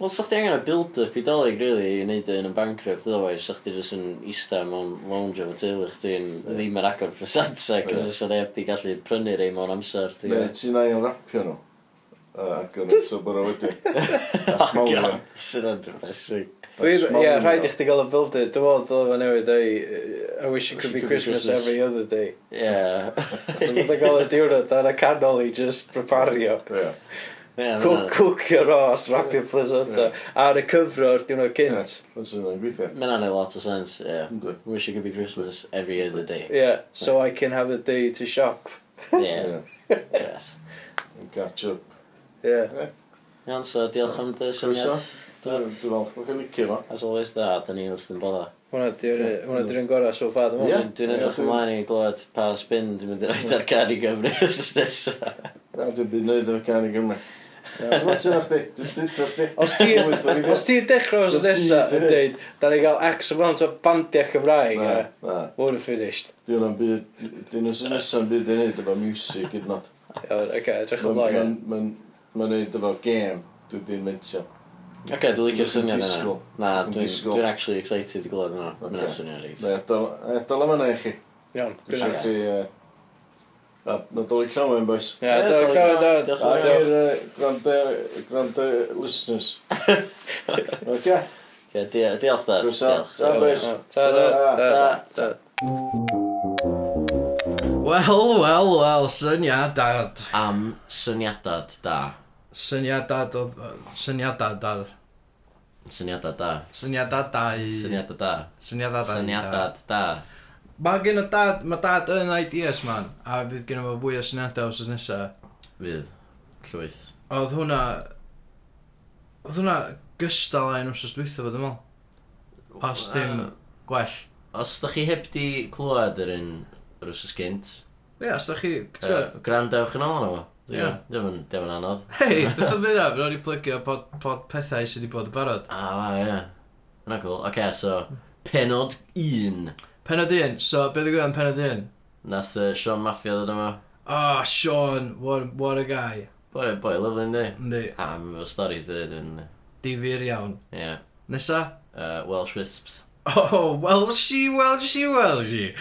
[SPEAKER 2] Wel, sa'ch ti angen y build-up i dolyg, really, i wneud yn yn bankrupt, ddo fai. Sa'ch ti jyst yn eista mewn lounge efo teulu chdi'n ddim yn agor presenta,
[SPEAKER 4] Ie.
[SPEAKER 2] cos sa'n neb di gallu prynu rei mewn amser. ti'n
[SPEAKER 4] Neu
[SPEAKER 2] gwbod.
[SPEAKER 4] ti'n ai yn rapio nhw. Yy, Ac yn eto bod o wedi.
[SPEAKER 2] *laughs*
[SPEAKER 4] A
[SPEAKER 2] Oh,
[SPEAKER 4] smolio.
[SPEAKER 2] God, Sy'n yn depressing.
[SPEAKER 3] Ie,
[SPEAKER 4] Smolio.
[SPEAKER 3] rhaid i chdi gael y build-it. Dwi'n meddwl dylai fe newid ei uh, I wish it could be Christmas every other *laughs* day.
[SPEAKER 2] Ie. *laughs*
[SPEAKER 3] So fydda gael y diwrnod ar y canol i just prepario.
[SPEAKER 4] Ie.
[SPEAKER 2] Ie,
[SPEAKER 3] Cw-
[SPEAKER 2] ma'
[SPEAKER 3] Cwcio ros, rapio placenta. Ar y cyfro o'r diwrnod
[SPEAKER 4] Ie.
[SPEAKER 3] cynt.
[SPEAKER 4] Fes yna'n gweithio.
[SPEAKER 2] Mae'n anodd lot o sens, ie.
[SPEAKER 4] Ynddi.
[SPEAKER 2] Wish it could be Christmas every other
[SPEAKER 4] *laughs*
[SPEAKER 2] day.
[SPEAKER 3] Yeah, so I can have a day to shop.
[SPEAKER 2] Ie,
[SPEAKER 4] Ie.
[SPEAKER 2] yes.
[SPEAKER 4] Yn catch up.
[SPEAKER 3] Yeah.
[SPEAKER 2] Iawn, so diolch am dy
[SPEAKER 4] Croeso.
[SPEAKER 2] syniad.
[SPEAKER 4] Dwi'n falch bod chi'n licio fo.
[SPEAKER 2] As always, da, da ni wrth yn bodda.
[SPEAKER 3] Hwna di'r- hwnna di'r un gorau so far, dwi'n
[SPEAKER 4] Ie.
[SPEAKER 2] Dwi'n
[SPEAKER 3] meddwl.
[SPEAKER 2] dwi'n edrych
[SPEAKER 4] Ie, dwi'n-
[SPEAKER 2] ymlaen i glywed pa spin dwi'n mynd i roed ar car i Gymru os nesaf.
[SPEAKER 4] Na, dwi'n byd wneud efo can i Gymru. Dwi'n mynd sy'n chdi. Dwi'n dweud ar chdi.
[SPEAKER 3] Os ti *laughs*
[SPEAKER 4] Wyth o weithiau.
[SPEAKER 3] os ti'n dechrau os nesa yn dweud, da ni gael X amount o bandiau Cymraeg,
[SPEAKER 4] Na,
[SPEAKER 3] ie.
[SPEAKER 4] na.
[SPEAKER 3] We're finished.
[SPEAKER 4] Dwi'n am byd... Dwi'n os yn nesaf byd i wneud efo music hyd nod.
[SPEAKER 3] Iawn, oce, edrych yn dda, ie.
[SPEAKER 4] Mae'n wneud efo game. Dwi'n dwi'n mentio.
[SPEAKER 2] Ok, dwi'n licio'r syniad yna.
[SPEAKER 4] Disgwyl.
[SPEAKER 2] Na,
[SPEAKER 4] Dwi'n
[SPEAKER 2] dwi'n
[SPEAKER 4] disgwyl.
[SPEAKER 2] dwi'n actually excited i glywed yna.
[SPEAKER 4] Ocê.
[SPEAKER 2] Mae'n okay. syniad reit.
[SPEAKER 4] Neu, dal am yna i chi.
[SPEAKER 3] Iawn,
[SPEAKER 4] Dwi'n
[SPEAKER 3] dwi'n
[SPEAKER 4] siarad ti... yy, A, nadolig llawn, boys.
[SPEAKER 3] Ie, dwi'n
[SPEAKER 2] Diolch
[SPEAKER 3] clywed o.
[SPEAKER 2] yn
[SPEAKER 4] Ac
[SPEAKER 2] fawr.
[SPEAKER 4] i'r uh, gwrando, gwrando listeners. Oce?
[SPEAKER 2] Ie, di- Diolch da.
[SPEAKER 4] Croeso.
[SPEAKER 2] Diolch.
[SPEAKER 4] Ta, boys.
[SPEAKER 3] Ta, ta, ta, ta.
[SPEAKER 6] Wel, wel, wel, syniad dad.
[SPEAKER 7] Am syniadad da.
[SPEAKER 6] Syniad dad oedd... Syniad dad dad.
[SPEAKER 7] Syniadad da.
[SPEAKER 6] Syniad dad dau.
[SPEAKER 7] Syniadad da.
[SPEAKER 6] Syniad dad dau.
[SPEAKER 7] Syniadad da.
[SPEAKER 6] Mae gen y dad, mae dad yn ideas man, a fydd gen fo fwy o syniadau os oes nesaf.
[SPEAKER 7] Fydd. Llwyth.
[SPEAKER 6] Oedd hwnna... Oedd hwnna gystal a'n wrth os dwi'n fod yn ymol. Os dim gwell.
[SPEAKER 2] os da chi heb di clywed yr un rwsus gynt,
[SPEAKER 3] Ie, os da chi... ti'n
[SPEAKER 2] uh,
[SPEAKER 3] gwbod,
[SPEAKER 2] grandewch yn ôl nhw.
[SPEAKER 3] Ie.
[SPEAKER 2] Dwi'n yn anodd.
[SPEAKER 3] Hei, beth o'n mynd am? Ro'n i plygio pod, pod pethau sydd wedi bod yn barod.
[SPEAKER 2] A, wa, ie. Yna cool. Oce, okay, so, penod un.
[SPEAKER 3] Penod un, so beth o'n gwybod yn penod un?
[SPEAKER 2] Nath uh, Sean Maffia ddod yma.
[SPEAKER 3] Ah, Sean, what, what a guy.
[SPEAKER 2] Boi, boi, lyflu yn di.
[SPEAKER 3] Yndi,
[SPEAKER 2] Am o storys dyd yn...
[SPEAKER 3] difyr iawn.
[SPEAKER 2] Ie.
[SPEAKER 3] Nesa? *laughs*
[SPEAKER 2] Uh, Welsh Wisps.
[SPEAKER 3] Oh, Welshi, Welshi, Welshi.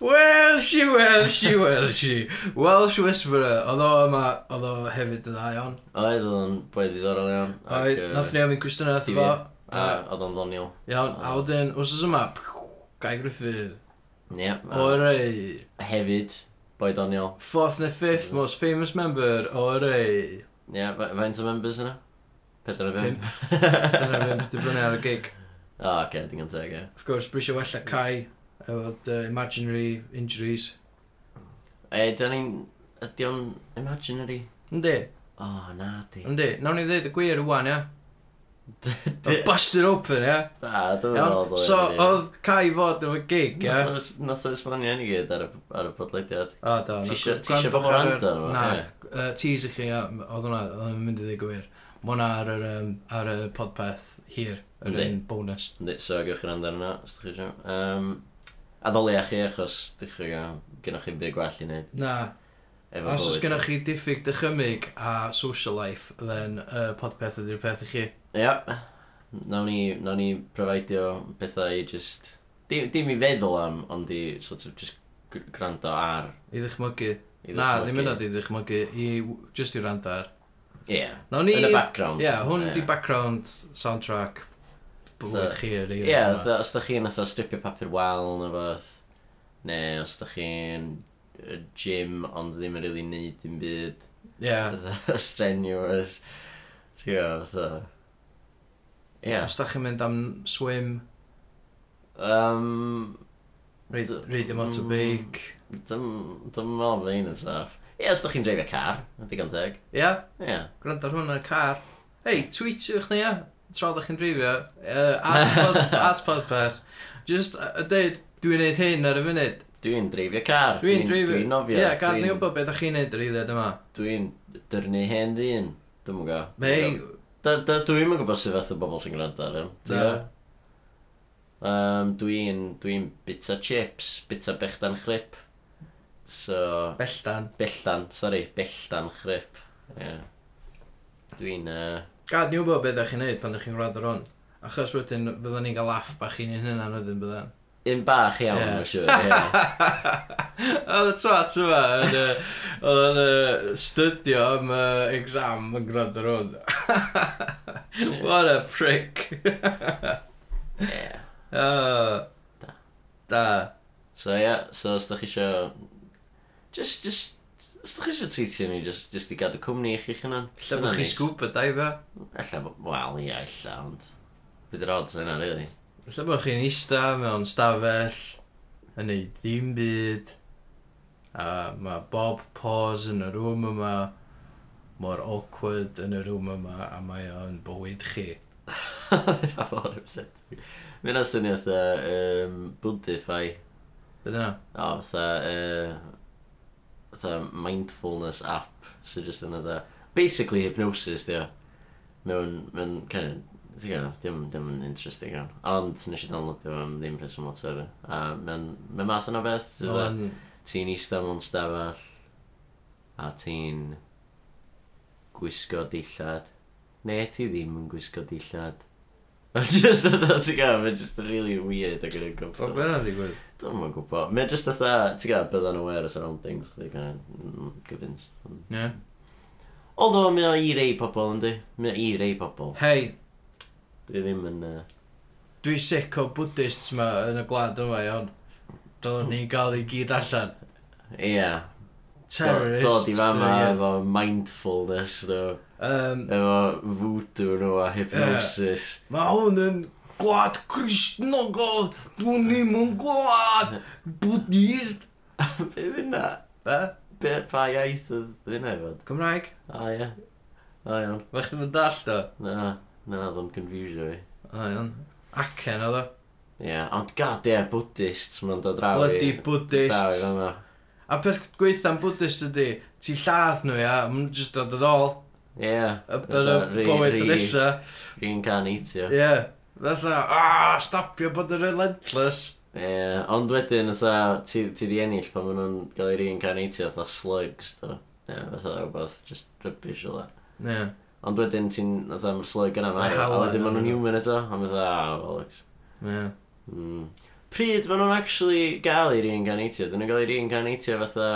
[SPEAKER 3] Welshi, Welshi, Welshi. Welsh Whisperer. Oedd o yma, oedd o hefyd yn dda iawn.
[SPEAKER 2] Oedd o'n boi ddiddorol iawn. ac,
[SPEAKER 3] Oedd,
[SPEAKER 2] yy,
[SPEAKER 3] nath ni am un cwestiwn nath efo.
[SPEAKER 2] difyr. A oedd o'n ddoniol.
[SPEAKER 3] Iawn, a wedyn, wrth yma, Guy Griffith.
[SPEAKER 2] Ie.
[SPEAKER 3] O rei.
[SPEAKER 2] a Hefyd, boi doniol.
[SPEAKER 3] Fourth neu fifth most famous member o rei.
[SPEAKER 2] Ie, fa- faint o members yna? Pedwar o
[SPEAKER 3] Pump.
[SPEAKER 2] bim.
[SPEAKER 3] Dyna fi'n dibynnu ar y gig.
[SPEAKER 2] *laughs* O, oce, digon teg, ie.
[SPEAKER 3] Wrth gwrs, bwysio wella Kai, efo dy imaginary injuries.
[SPEAKER 2] E, da ni'n... Ydy o'n imaginary?
[SPEAKER 3] Yndi,
[SPEAKER 2] O, oh, na di.
[SPEAKER 3] yndi. Nawn ni ddeud y gwir rwan, ia.
[SPEAKER 2] *laughs* Di-
[SPEAKER 3] Y busted open, ia.
[SPEAKER 2] Na, dwi'n
[SPEAKER 3] Iawn,
[SPEAKER 2] meddwl.
[SPEAKER 3] so oedd Kai fod efo gig, ia.
[SPEAKER 2] Nath o esbonio hyn i gyd ar y, ar y podlediad.
[SPEAKER 3] O, do.
[SPEAKER 2] Ti
[SPEAKER 3] na,
[SPEAKER 2] isio- ti
[SPEAKER 3] gwrandwch
[SPEAKER 2] isio bobl
[SPEAKER 3] ar y-
[SPEAKER 2] wrando arno fo,
[SPEAKER 3] Na,
[SPEAKER 2] ie.
[SPEAKER 3] yy, tease i chi, ia. Oedd hwnna, oedd hwnna'n mynd i ddweud gwir. Mae hwnna ar yr, yym, ar y podpeth hir, yr
[SPEAKER 2] Yndi.
[SPEAKER 3] un bonus.
[SPEAKER 2] Yndi, so gewch chi'n rhanda'n yna, os ydych chi eisiau. Um, a ddolia chi, achos ydych chi gennych chi'n byd gwell i wneud.
[SPEAKER 3] Na,
[SPEAKER 2] Efo
[SPEAKER 3] os oes
[SPEAKER 2] bywyd.
[SPEAKER 3] gennych chi diffyg dychymyg a social life, then y podpeth ydy'r peth i chi.
[SPEAKER 2] Iap. Nawn ni, nawn ni profidio bethau i just... Dim, dim i feddwl am, ond i sort of just gr- gwrando ar.
[SPEAKER 3] I ddychmygu.
[SPEAKER 2] i
[SPEAKER 3] Na,
[SPEAKER 2] ddychmygu.
[SPEAKER 3] ddim yna di ddychmygu. I, w- just i rand ar.
[SPEAKER 2] Ie.
[SPEAKER 3] Nawn ni...
[SPEAKER 2] Yn y background.
[SPEAKER 3] Ie, hwn di
[SPEAKER 2] Ie.
[SPEAKER 3] background soundtrack.
[SPEAKER 2] Fatha-
[SPEAKER 3] Bwyd chi yr
[SPEAKER 2] Ie, fatha, os da chi'n fatha stripio papur wal neu fath, neu os da chi'n yy, gym ond ddim yn rili neud dim byd,
[SPEAKER 3] Ie.
[SPEAKER 2] fatha *laughs* strenuous, ti'n gwybod, fatha. Ie.
[SPEAKER 3] Os da chi'n mynd am swim,
[SPEAKER 2] Um,
[SPEAKER 3] reid,
[SPEAKER 2] D-
[SPEAKER 3] reid ym at y
[SPEAKER 2] mm.
[SPEAKER 3] beic.
[SPEAKER 2] Dym meddwl bod un yn saff. Ie, os da chi'n dreifio car, yn digon teg.
[SPEAKER 3] Ia,
[SPEAKER 2] Ie.
[SPEAKER 3] gwrando ar hwn ar y car. Hei, tweetiwch ni ia, tra da chi'n drifio, uh,
[SPEAKER 2] *laughs*
[SPEAKER 3] at, pod, at podpeth. Just yy, y deud, dwi'n neud hyn ar y funud.
[SPEAKER 2] Dwi'n dreifio car.
[SPEAKER 3] Dwi'n drifio.
[SPEAKER 2] Dwi'n nofio.
[SPEAKER 3] Ie, gael ni
[SPEAKER 2] Dwi'n-
[SPEAKER 3] wybod beth da chi'n neud yr eiliad yma.
[SPEAKER 2] Dwi'n dyrnu hen ddyn. Dwi'n mwyn go.
[SPEAKER 3] Hei,
[SPEAKER 2] Dwi'n mwyn gwybod sydd fath o bobl sy'n gwrando ar hyn.
[SPEAKER 3] Na.
[SPEAKER 2] Um, dwi'n dwi bita chips, bita bechdan chrip. So,
[SPEAKER 3] belldan.
[SPEAKER 2] belldan, sori, belldan chrip. Yeah. Dwi'n, uh,
[SPEAKER 3] Gad ni wybod beth da chi'n neud pan da chi'n gwrando ar hwn. Achos wedyn, fydda ni'n cael laff bach i'n hynna wedyn byddan.
[SPEAKER 2] un bach iawn,
[SPEAKER 3] Ie.
[SPEAKER 2] yeah. mae'n siŵr.
[SPEAKER 3] *laughs*
[SPEAKER 2] Yeah.
[SPEAKER 3] Oedd y twat yma yn, yy, oedd yn yy, studio am yy, exam yn gwrando ar hwn. What a prick.
[SPEAKER 2] yeah.
[SPEAKER 3] Oh. Da.
[SPEAKER 2] So, ie, yeah, so os da chi isio... Just, just... Os da chi isio teitio ni, just, just i gadw cwmni i chi chynan.
[SPEAKER 3] Lle bod chi scuba diver.
[SPEAKER 2] Alla, bo- wel, ie, alla, ond... Bydd yr odds yna, *laughs* really.
[SPEAKER 3] Lle bod chi'n eista mewn stafell yn ei ddim byd. A mae Bob Paws yn y rŵm yma mor awkward yn y rŵm yma a mae o'n bywyd chi.
[SPEAKER 2] Fyna fawr upsetting. Fyna syni fatha um, Buddhify.
[SPEAKER 3] Dyna.
[SPEAKER 2] O, fatha... Uh, fatha mindfulness app. So just yn fatha... Basically hypnosis, dio. Mewn... Mewn... Kind of, ti'n gwybod, dim, dim yn interesting iawn. Ond nes i downloadio fo am ddim rheswm o tyfu. A mewn, mewn math yna o beth, sydd
[SPEAKER 3] Oedd
[SPEAKER 2] fatha,
[SPEAKER 3] o'n
[SPEAKER 2] ti'n eistedd mewn stafell, a ti'n gwisgo dillad, neu ti ddim yn gwisgo dillad. *laughs* just oedd ti'n gael, mae'n just really weird ac yn y
[SPEAKER 3] Ffoc
[SPEAKER 2] gwybod.
[SPEAKER 3] fe'n o'n digwydd.
[SPEAKER 2] Dwi'n yn gwybod. Mae'n just oedd, ti'n gael, bydda'n aware o surroundings, chdi, gan gyfyns.
[SPEAKER 3] Ie.
[SPEAKER 2] Oedd o, mae o i rei pobl, yndi? Mae o i rei pobl.
[SPEAKER 3] Hei,
[SPEAKER 2] Dwi ddim yn... yy,
[SPEAKER 3] dwi sic o Buddhists ma yn y gwlad yma iawn. Dylen ni gael ei gyd allan.
[SPEAKER 2] Ie.
[SPEAKER 3] Terrorists.
[SPEAKER 2] Dod i fama
[SPEAKER 3] ie.
[SPEAKER 2] efo mindfulness, nhw.
[SPEAKER 3] Yym,
[SPEAKER 2] Efo voodoo nhw a hypnosis.
[SPEAKER 3] Mae hwn yn gwlad Cristnogol, dwi'n ddim yn gwlad Buddhist.
[SPEAKER 2] Bydd hynna?
[SPEAKER 3] Be?
[SPEAKER 2] Be, pa iaith oedd hynna i fod?
[SPEAKER 3] Cymraeg?
[SPEAKER 2] A ie. A iawn.
[SPEAKER 3] Fe chdi fod dall do?
[SPEAKER 2] Na, na, oedd o'n confusio fi.
[SPEAKER 3] O, iawn. Acen oedd o.
[SPEAKER 2] Ie, ond god, ie, Buddhists, mae'n dod draw i...
[SPEAKER 3] Bloody Buddhists.
[SPEAKER 2] Draw i fan'na.
[SPEAKER 3] A beth gweitha am Buddhist ydy, ti lladd nhw ia, mae'n just dod yn ôl.
[SPEAKER 2] Ie.
[SPEAKER 3] Y yn
[SPEAKER 2] fatha
[SPEAKER 3] y
[SPEAKER 2] re-
[SPEAKER 3] bywyd
[SPEAKER 2] re-
[SPEAKER 3] nesa.
[SPEAKER 2] Reincarnatio.
[SPEAKER 3] Ie. Fatha, aaa, stopio bod yn relentless.
[SPEAKER 2] Ie, ond wedyn, ysa, ti, ti di ennill pan maen nhw'n cael ei reincarnatio, fatha slugs, do. Ie, fatha rhywbeth, just rubbish o dda.
[SPEAKER 3] Ie.
[SPEAKER 2] Ond wedyn, ti'n, fatha, mae'r slug yna
[SPEAKER 3] Mae
[SPEAKER 2] maen a
[SPEAKER 3] hawen
[SPEAKER 2] wedyn maen nhw'n
[SPEAKER 3] arnyn nhw.
[SPEAKER 2] human eto, a maen fatha, ah, bollocks.
[SPEAKER 3] Ie.
[SPEAKER 2] Mm. Pryd maen nhw'n actually gael ei reincarnatio? Dyn nhw'n gael ei reincarnatio fatha...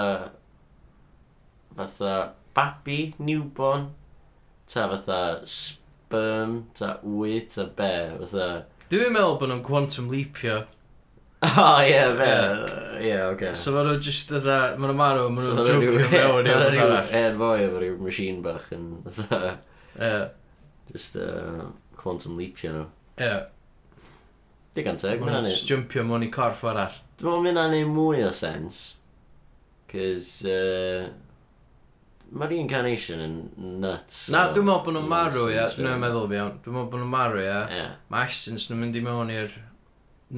[SPEAKER 2] Fatha babi, newborn, ta fatha sperm, ta wy, ta be, fatha... *laughs*
[SPEAKER 3] Dwi'n meddwl bod nhw'n quantum leapio.
[SPEAKER 2] O, oh, ie, yeah, be, ie, yeah, oce. Okay.
[SPEAKER 3] So maen nhw'n just dda, maen nhw'n marw, maen
[SPEAKER 2] So ma'
[SPEAKER 3] nhw'n
[SPEAKER 2] 'na
[SPEAKER 3] jwpio
[SPEAKER 2] ryw-
[SPEAKER 3] mewn
[SPEAKER 2] ma'
[SPEAKER 3] i'r
[SPEAKER 2] na
[SPEAKER 3] rhywbeth
[SPEAKER 2] ryw
[SPEAKER 3] arall.
[SPEAKER 2] hen foi efo ryw machine bach yn fatha,
[SPEAKER 3] Ie.
[SPEAKER 2] just uh, quantum leapio nhw.
[SPEAKER 3] Ie.
[SPEAKER 2] Digon teg,
[SPEAKER 3] Maen
[SPEAKER 2] mae'n
[SPEAKER 3] nhw'n just jumpio mewn i corff arall.
[SPEAKER 2] Dwi'n meddwl mynd â'n ei mwy o sens. Cys... Uh, Mae reincarnation yn nuts.
[SPEAKER 3] Na,
[SPEAKER 2] so-
[SPEAKER 3] dwi'n meddwl bod nhw'n marw, ie.
[SPEAKER 2] Sens,
[SPEAKER 3] Dwi'n meddwl fi iawn. Dwi'n meddwl bod nhw'n marw, ie.
[SPEAKER 2] Ie.
[SPEAKER 3] Mae essence nhw'n mynd i mewn i'r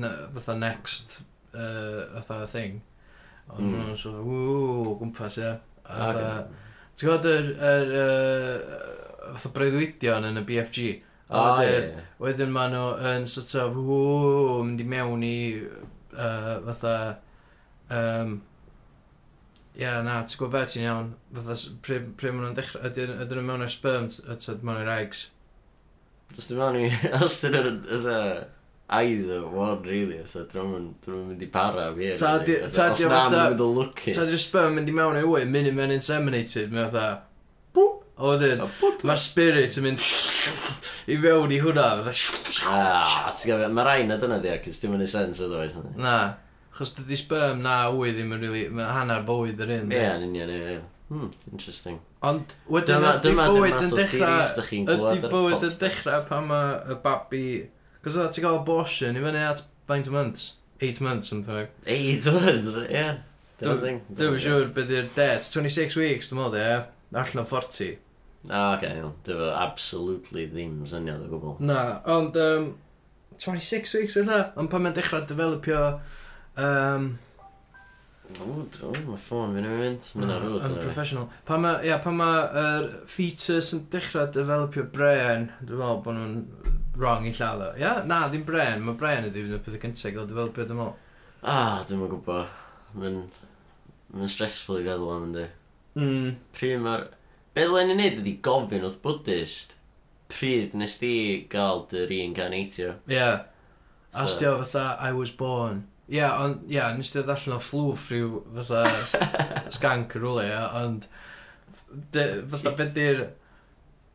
[SPEAKER 3] na- fatha next uh, fatha thing. Ond
[SPEAKER 2] Mm.
[SPEAKER 3] mm. nhw'n sort of, ww, gwmpas, ie. A Fatha,
[SPEAKER 2] Ocê.
[SPEAKER 3] ti'n gwybod yr, yr, uh, fatha breuddwydion yn y BFG? A
[SPEAKER 2] O,
[SPEAKER 3] wedyn,
[SPEAKER 2] ie.
[SPEAKER 3] wedyn maen nhw yn sort of, ww, mynd i mewn i uh, fatha, um, Ie, yeah, na, ti'n gwybod beth ti'n iawn? Fatha, s- pryd pryd maen nhw'n dechrau, ydyn ydyn nhw mewn i'r sperm, a ti'n mewn i'r eggs.
[SPEAKER 2] Os dwi'n meddwl ni... *laughs* Os dyn nhw'n... Ydda... Either one, really. Ydda, dwi'n meddwl- dwi'n meddwl mynd i para fi.
[SPEAKER 3] Ta di- ta di
[SPEAKER 2] Os na,
[SPEAKER 3] fatha-
[SPEAKER 2] mae'n mynd o lwcus.
[SPEAKER 3] Ta di'r sperm mynd i mewn ei wyn, mynd i mewn inseminated, mae'n fatha, bwp, a wedyn,
[SPEAKER 2] O, bwp.
[SPEAKER 3] mae'r spirit yn mynd *laughs* i fewn i hwnna, fatha,
[SPEAKER 2] Ah, ti'n gofio, mae rhain na dyna di, ac dim yn ei sens oedd oes. Ie,
[SPEAKER 3] na, chos dydi sperm na wy ddim yn rili, really, mae hanner bywyd yr un. de.
[SPEAKER 2] yn union, ie, ie. Hmm, interesting.
[SPEAKER 3] Ond wedyn,
[SPEAKER 2] Dyma,
[SPEAKER 3] ydy
[SPEAKER 2] dyma, dyma,
[SPEAKER 3] bywyd yn
[SPEAKER 2] theories
[SPEAKER 3] dechrau,
[SPEAKER 2] dych chi'n glwad ar
[SPEAKER 3] ydy
[SPEAKER 2] y
[SPEAKER 3] bywyd yn
[SPEAKER 2] podcast.
[SPEAKER 3] dechrau pan mae y babi, cos ydy ti'n cael abortion i fyny at faint o months, 8 months, something like.
[SPEAKER 2] Eight words, ie. Dyna
[SPEAKER 3] Dwi-
[SPEAKER 2] thing.
[SPEAKER 3] Dwi'n siŵr beth yw'r date, 26 weeks, dwi'n modd, ie, allan o 40.
[SPEAKER 2] O, oce, iawn. Dwi efo absolutely ddim syniad o gwbl.
[SPEAKER 3] Na, ond um, 26 weeks yna, ond pan mae'n dechrau developio um,
[SPEAKER 2] O, o, mae ffôn fi'n ei mynd. Mae'n ar rwyd.
[SPEAKER 3] yn professional. Pan mae yeah, mae'r fetus yn dechrau developio bren, dwi'n meddwl bod nhw'n wrong i lladd o. Yeah? Na, ddim bren, mae bren ydy yn y peth cyntaf gael developio dwi'n meddwl.
[SPEAKER 2] A, dwi'n mynd gwybod. Mae'n... Mae'n stressful i feddwl am yndi.
[SPEAKER 3] Mm.
[SPEAKER 2] Pryd mae'r... Be ddylen ni wneud ydi gofyn wrth Buddhist. Pryd nes di gael dy reincarnatio.
[SPEAKER 3] Yeah. A
[SPEAKER 2] So-
[SPEAKER 3] so. stio fatha, I was born. Ie, yeah, ond, ie, yeah, nes ti ddod allan o flwff rhyw fatha s-
[SPEAKER 2] *laughs*
[SPEAKER 3] skank yr wle, ie, ond de- fatha beth di'r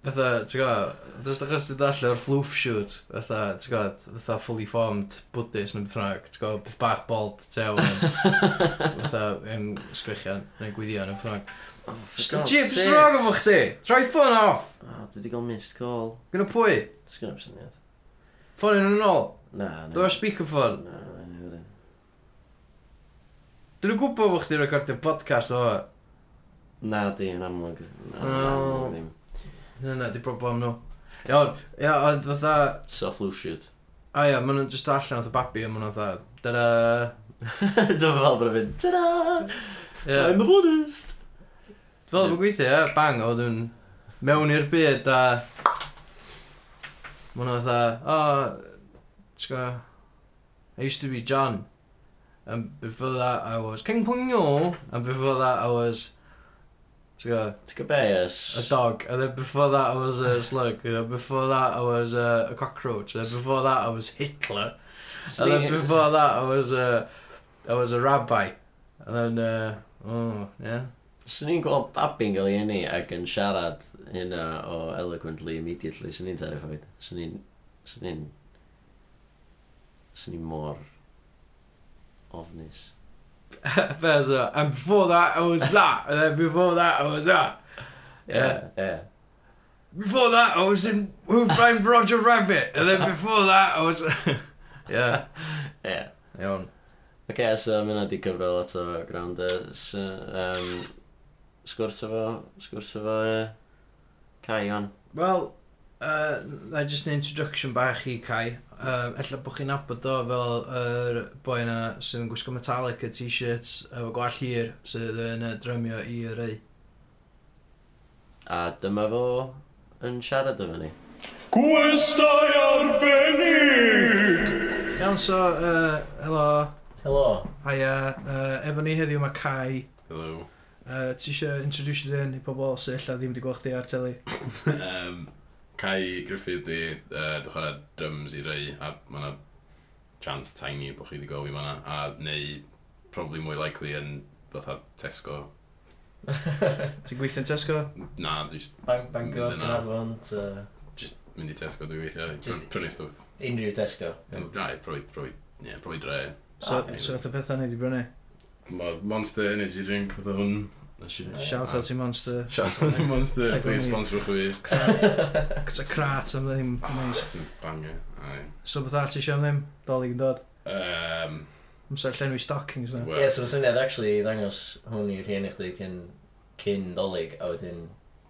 [SPEAKER 3] fatha, ti'n gwybod, dwi'n achos ti ddod allan o'r flwff shoot, fatha, ti'n gwybod, fatha fully formed Buddhist neu beth rhaeg, ti'n gwybod, beth bach bolt tew yn, fatha, yn sgrichian, neu gwyddion neu beth rhaeg.
[SPEAKER 2] Oh, for God's
[SPEAKER 3] Jib,
[SPEAKER 2] sakes.
[SPEAKER 3] sy'n rhaeg efo chdi? Troi ffôn off!
[SPEAKER 2] O, dwi wedi gael missed call.
[SPEAKER 3] Gyn o pwy?
[SPEAKER 2] Sgyn o'r syniad.
[SPEAKER 3] Ffôn yn ôl?
[SPEAKER 2] Na, na.
[SPEAKER 3] Dwi'n speakerphone?
[SPEAKER 2] Na, na, na, na.
[SPEAKER 3] Dwi'n gwybod bod chdi'n recordio podcast o fo.
[SPEAKER 2] Na, di, yn amlwg. Na,
[SPEAKER 3] O.
[SPEAKER 2] yn amlwg ddim.
[SPEAKER 3] Na, na, di broblem nhw. Iawn, ia, ond fatha,
[SPEAKER 2] Soft loose shoot.
[SPEAKER 3] a ia, maen nhw'n just allan oedd y babi a maen nhw'n fatha, da-da.
[SPEAKER 2] *laughs* Dwi'n fel bod yn mynd, ta-da!
[SPEAKER 3] Ia,
[SPEAKER 2] I'm a Buddhist!
[SPEAKER 3] fel bod gweithio, ia, bang, oedd yn mewn i'r byd a... Maen nhw'n fatha, o, ti'n go, I used to be John. And before that I was King Pung Yo. And before that I was, ti'n go,
[SPEAKER 2] Ti'n gwybod be, yes?
[SPEAKER 3] a dog, and then before that I was a slug, and then before that I was uh, a cockroach, and then before that I was Hitler, and then before that I was a, I was a rabbi, and then uh, oh yeah, *laughs*
[SPEAKER 2] Swn i'n gweld babi'n gael ei eni ac yn siarad hynna o eloquently immediately. Swn i'n terrified. Swn i'n... Swn i'n... Swn i'n mor... ofnus.
[SPEAKER 3] there's a, and before that I was that, and then before that I was that, yeah.
[SPEAKER 2] Ie.
[SPEAKER 3] Before that I was in Who Framed Roger Rabbit, and then before that I was, *laughs* yeah,
[SPEAKER 2] Ie.
[SPEAKER 3] iawn.
[SPEAKER 2] Oce, so mae hynna di cyfrol lot o ground. yy, s- yy, yym, Sgwrs efo... Sgwrs efo... yy, Cai on.
[SPEAKER 3] Wel, uh, na just an introduction bach i Kai. um, ella bod chi'n nabod o fel yr boi na sydd yn gwisgo Metallica t-shirts efo gwall hir sydd yn uh, drymio i y rei.
[SPEAKER 8] A dyma fo yn siarad efo ni.
[SPEAKER 1] Gwestai arbennig!
[SPEAKER 3] Iawn, so, uh, helo,
[SPEAKER 8] Helo.
[SPEAKER 3] haia, uh, efo ni heddiw mae Kai.
[SPEAKER 9] Hello.
[SPEAKER 3] Uh, ti eisiau introduce dy hun i pobol sy'n ella ddim wedi gweld chdi ar teli.
[SPEAKER 9] Um, Kai Griffith di, uh, dwi'n chwarae drums i rei, a mae yna chance tiny bod chi wedi gofio fanna, a neu probably mwy likely yn fatha Tesco.
[SPEAKER 3] Ti'n gweithio'n Tesco?
[SPEAKER 9] Na, dwi jyst
[SPEAKER 2] Bang, Bangor,
[SPEAKER 9] Dyna.
[SPEAKER 2] Gaernarfon, to
[SPEAKER 9] jyst mynd i Tesco dwi weithio,
[SPEAKER 2] Jyst-
[SPEAKER 9] prynu- prynu stwff.
[SPEAKER 2] unrhyw Tesco.
[SPEAKER 9] Yym, Rai, probably, probably, yeah, probably dre.
[SPEAKER 3] So,
[SPEAKER 9] Ah,
[SPEAKER 3] so oedd y pethau ni wedi brynu.
[SPEAKER 9] Ma- Monster Energy Drink, fatha hwn.
[SPEAKER 3] Shout out i Monster.
[SPEAKER 9] Shout out to Monster,
[SPEAKER 3] Rhaid bod
[SPEAKER 9] please
[SPEAKER 3] ni-
[SPEAKER 9] sponsor chwi.
[SPEAKER 3] Cys y crat am ddim
[SPEAKER 9] Ah,
[SPEAKER 3] neis.
[SPEAKER 9] it's a banger, ai.
[SPEAKER 3] So beth arall ti eisiau am ddim? Doli yn dod.
[SPEAKER 9] Um,
[SPEAKER 3] Amser llenwi stockings na.
[SPEAKER 2] Ie,
[SPEAKER 9] well,
[SPEAKER 2] so syniad actually i ddangos hwn i'r hyn i chdi cyn cyn dolyg, a wedyn...